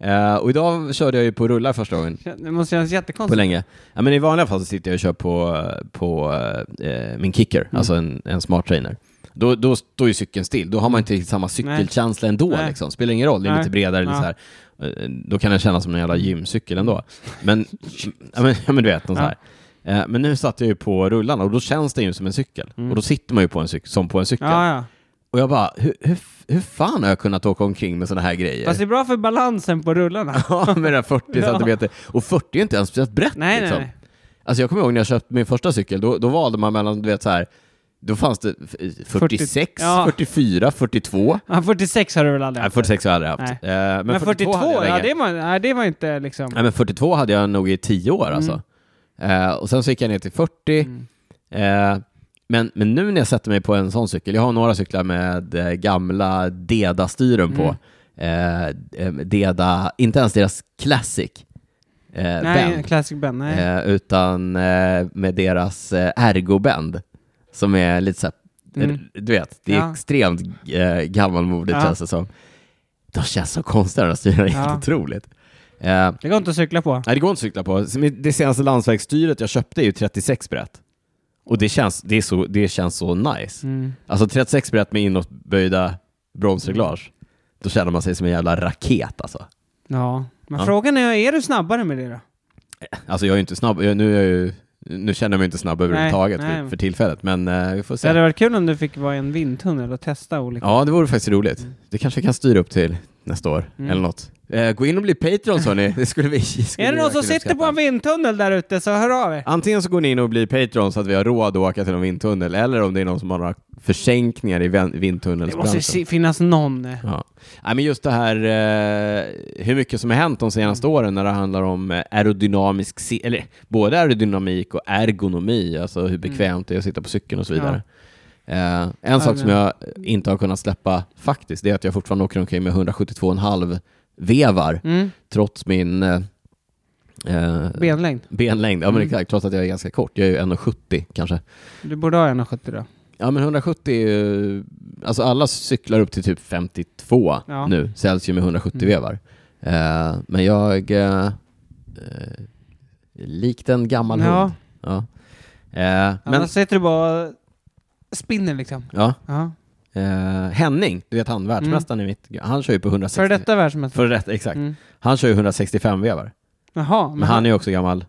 Speaker 1: Eh, och idag körde jag ju på rullar första gången
Speaker 2: Det måste kännas
Speaker 1: på
Speaker 2: jättekonstigt.
Speaker 1: länge. Ja, men I vanliga fall så sitter jag och kör på, på eh, min kicker,
Speaker 2: Mm.
Speaker 1: alltså en, en smart trainer. Då, då står ju cykeln still, då har man inte riktigt samma cykelkänsla ändå.
Speaker 2: Nej.
Speaker 1: Liksom. Spelar ingen roll, det är
Speaker 2: Nej.
Speaker 1: lite bredare. Lite
Speaker 2: Ja.
Speaker 1: så här. Eh, Då kan den kännas som en jävla gymcykel ändå.
Speaker 2: <laughs>
Speaker 1: Men, ja, men, ja, men du vet, någon så här. Eh, Men nu satt jag ju på rullarna och då känns den ju som en cykel. Och då sitter man ju på en cykel, som på en cykel.
Speaker 2: Mm. Ja, ja.
Speaker 1: Och jag bara, hur, hur, hur fan har jag kunnat åka omkring med sådana här grejer?
Speaker 2: Fast det är bra för balansen på rullarna.
Speaker 1: <laughs> Ja, med den här 40 centimeter. Och 40 är inte ens speciellt brett.
Speaker 2: Nej, nej,
Speaker 1: liksom.
Speaker 2: nej.
Speaker 1: Alltså jag kommer ihåg när jag köpte min första cykel, då, då valde man mellan, du vet så här, Då fanns det f- 46,
Speaker 2: Ja.
Speaker 1: 44, 42.
Speaker 2: <laughs> Ja, 46 har du väl aldrig
Speaker 1: Nej,
Speaker 2: haft?
Speaker 1: 46 har jag aldrig haft.
Speaker 2: Nej.
Speaker 1: Eh,
Speaker 2: Men 42,
Speaker 1: hade jag
Speaker 2: ja,
Speaker 1: länge.
Speaker 2: det var, nej, det var inte liksom...
Speaker 1: Nej, men 42 hade jag nog i 10
Speaker 2: Mm.
Speaker 1: år alltså. Eh, och sen så gick jag ner till 40. Eh, men, men nu när jag sätter mig på en sån cykel, jag har några cyklar med eh, gamla Deda-styren på. Eh,
Speaker 2: Mm.
Speaker 1: eh, Deda, inte ens deras Classic. Eh,
Speaker 2: nej,
Speaker 1: band.
Speaker 2: Classic Ben. Nej.
Speaker 1: Eh, utan eh, med deras eh, ergobänd som är lite så här, eh,
Speaker 2: Mm.
Speaker 1: du vet, det är
Speaker 2: Ja.
Speaker 1: extremt eh, gammalmodigt
Speaker 2: Ja.
Speaker 1: känns det som. De känns så konstiga de där styren, det är
Speaker 2: Ja.
Speaker 1: helt otroligt. Eh,
Speaker 2: Det går inte att cykla på.
Speaker 1: Nej, det går inte att cykla på. Det senaste landsvägsstyret jag köpte är ju 36 brett. Och det känns, det är så, det känns så nice.
Speaker 2: Mm.
Speaker 1: Alltså 36 brett med inåtböjda bromsreglage. Då känner man sig som en jävla raket alltså.
Speaker 2: Ja. Men
Speaker 1: Ja.
Speaker 2: frågan är, är du snabbare med det då?
Speaker 1: Alltså jag är ju inte snabb, jag, nu, är jag ju, nu känner jag mig inte snabb överhuvudtaget
Speaker 2: nej.
Speaker 1: För, för tillfället, men eh, vi får
Speaker 2: Det
Speaker 1: se.
Speaker 2: hade varit kul om du fick vara i en vindtunnel och testa olika.
Speaker 1: Ja, det vore faktiskt roligt. Det kanske vi kan styra upp till nästa år,
Speaker 2: Mm.
Speaker 1: eller något. Eh, gå in och bli Patreons
Speaker 2: <laughs>
Speaker 1: hörni, det skulle vi skulle
Speaker 2: är det
Speaker 1: vi
Speaker 2: någon som
Speaker 1: verkligen
Speaker 2: sitter på
Speaker 1: uppskatta.
Speaker 2: en vindtunnel där ute så hör av er.
Speaker 1: Antingen så går ni in och blir Patreon så att vi har råd att åka till en vindtunnel, eller om det är någon som har några försänkningar i vin-
Speaker 2: Det måste ju
Speaker 1: vindtunnelsbranschen.
Speaker 2: si- finnas någon. eh.
Speaker 1: Ja. Nej, men just det här eh, hur mycket som har hänt de senaste
Speaker 2: Mm.
Speaker 1: åren när det handlar om eh, aerodynamisk, si- eller både aerodynamik och ergonomi, alltså
Speaker 2: Mm.
Speaker 1: hur bekvämt det är att sitta på cykeln och så vidare. Eh, en sak som jag inte har kunnat släppa faktiskt, det är att jag fortfarande åker omkring med 172,5 vevar,
Speaker 2: Mm.
Speaker 1: trots min eh, eh,
Speaker 2: Benlängd.
Speaker 1: benlängd.
Speaker 2: Mm.
Speaker 1: Ja, men exakt, trots att jag är ganska kort. Jag är ju 1,70 kanske.
Speaker 2: Du borde ha 170 då.
Speaker 1: Ja, men 170 är ju... Alltså alla cyklar upp till typ 52
Speaker 2: Ja. Mm.
Speaker 1: nu, säljs ju med 170 vevar. Eh, men jag... eh, eh, likt en gammal
Speaker 2: Ja.
Speaker 1: hund. Ja. Eh, men,
Speaker 2: Annars sitter du bara och spinner liksom.
Speaker 1: ja.
Speaker 2: Ja.
Speaker 1: Eh, Henning, du vet han, världsmästaren i mitt... Han kör ju på 160...
Speaker 2: För Mm. detta världsmästare.
Speaker 1: För detta, exakt.
Speaker 2: Mm.
Speaker 1: Han kör ju 165 vevar.
Speaker 2: Jaha.
Speaker 1: Men han är ju också gammal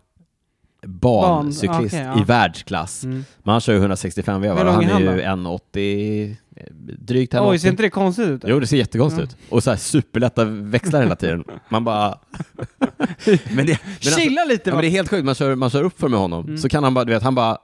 Speaker 1: bancyklist
Speaker 2: Ban- okej, ja.
Speaker 1: i världsklass.
Speaker 2: Mm.
Speaker 1: Men han kör ju 165 vevar
Speaker 2: Hur
Speaker 1: och
Speaker 2: lång
Speaker 1: han
Speaker 2: är
Speaker 1: är
Speaker 2: han
Speaker 1: ju 1,80, eh, drygt 1,80.
Speaker 2: Oj, ser inte det konstigt ut?
Speaker 1: Jo, det ser jättekonstigt ut. Och så här superlätta växlar hela tiden. Man
Speaker 2: <laughs>
Speaker 1: bara... men det, men alltså,
Speaker 2: Chilla lite
Speaker 1: ja, men
Speaker 2: bara.
Speaker 1: det är helt sjukt, man kör, man kör upp för med honom,
Speaker 2: Mm.
Speaker 1: så kan han bara, du vet, han
Speaker 2: <laughs>
Speaker 1: bara...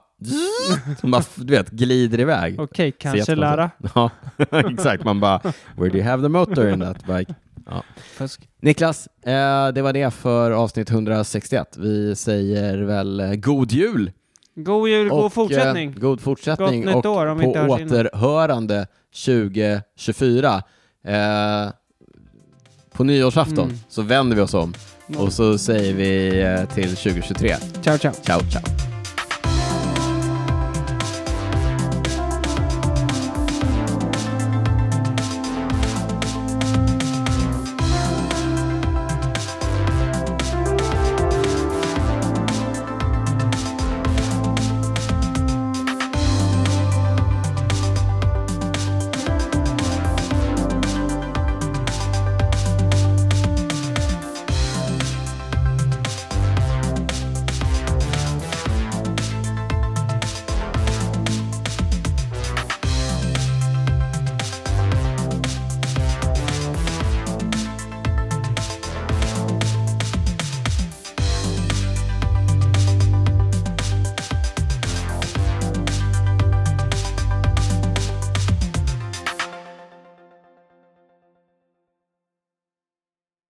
Speaker 1: Han bara du vet, glider iväg.
Speaker 2: Okej,
Speaker 1: Ser
Speaker 2: kanske
Speaker 1: jättekonstigt.
Speaker 2: lära.
Speaker 1: <laughs> Ja, exakt. Man bara, where do you have the motor in that bike? Ja.
Speaker 2: Fusk.
Speaker 1: Niklas, eh, det var det för avsnitt 161. Vi säger väl eh, god jul!
Speaker 2: God jul,
Speaker 1: Och,
Speaker 2: god fortsättning.
Speaker 1: eh, god fortsättning
Speaker 2: Gott nytt
Speaker 1: och
Speaker 2: år om vi
Speaker 1: på
Speaker 2: inte hörs innan.
Speaker 1: återhörande 2024. Eh, på nyårsafton
Speaker 2: Mm.
Speaker 1: så vänder vi oss om och så säger vi eh, till 2023.
Speaker 2: Ciao, ciao.
Speaker 1: Ciao, ciao.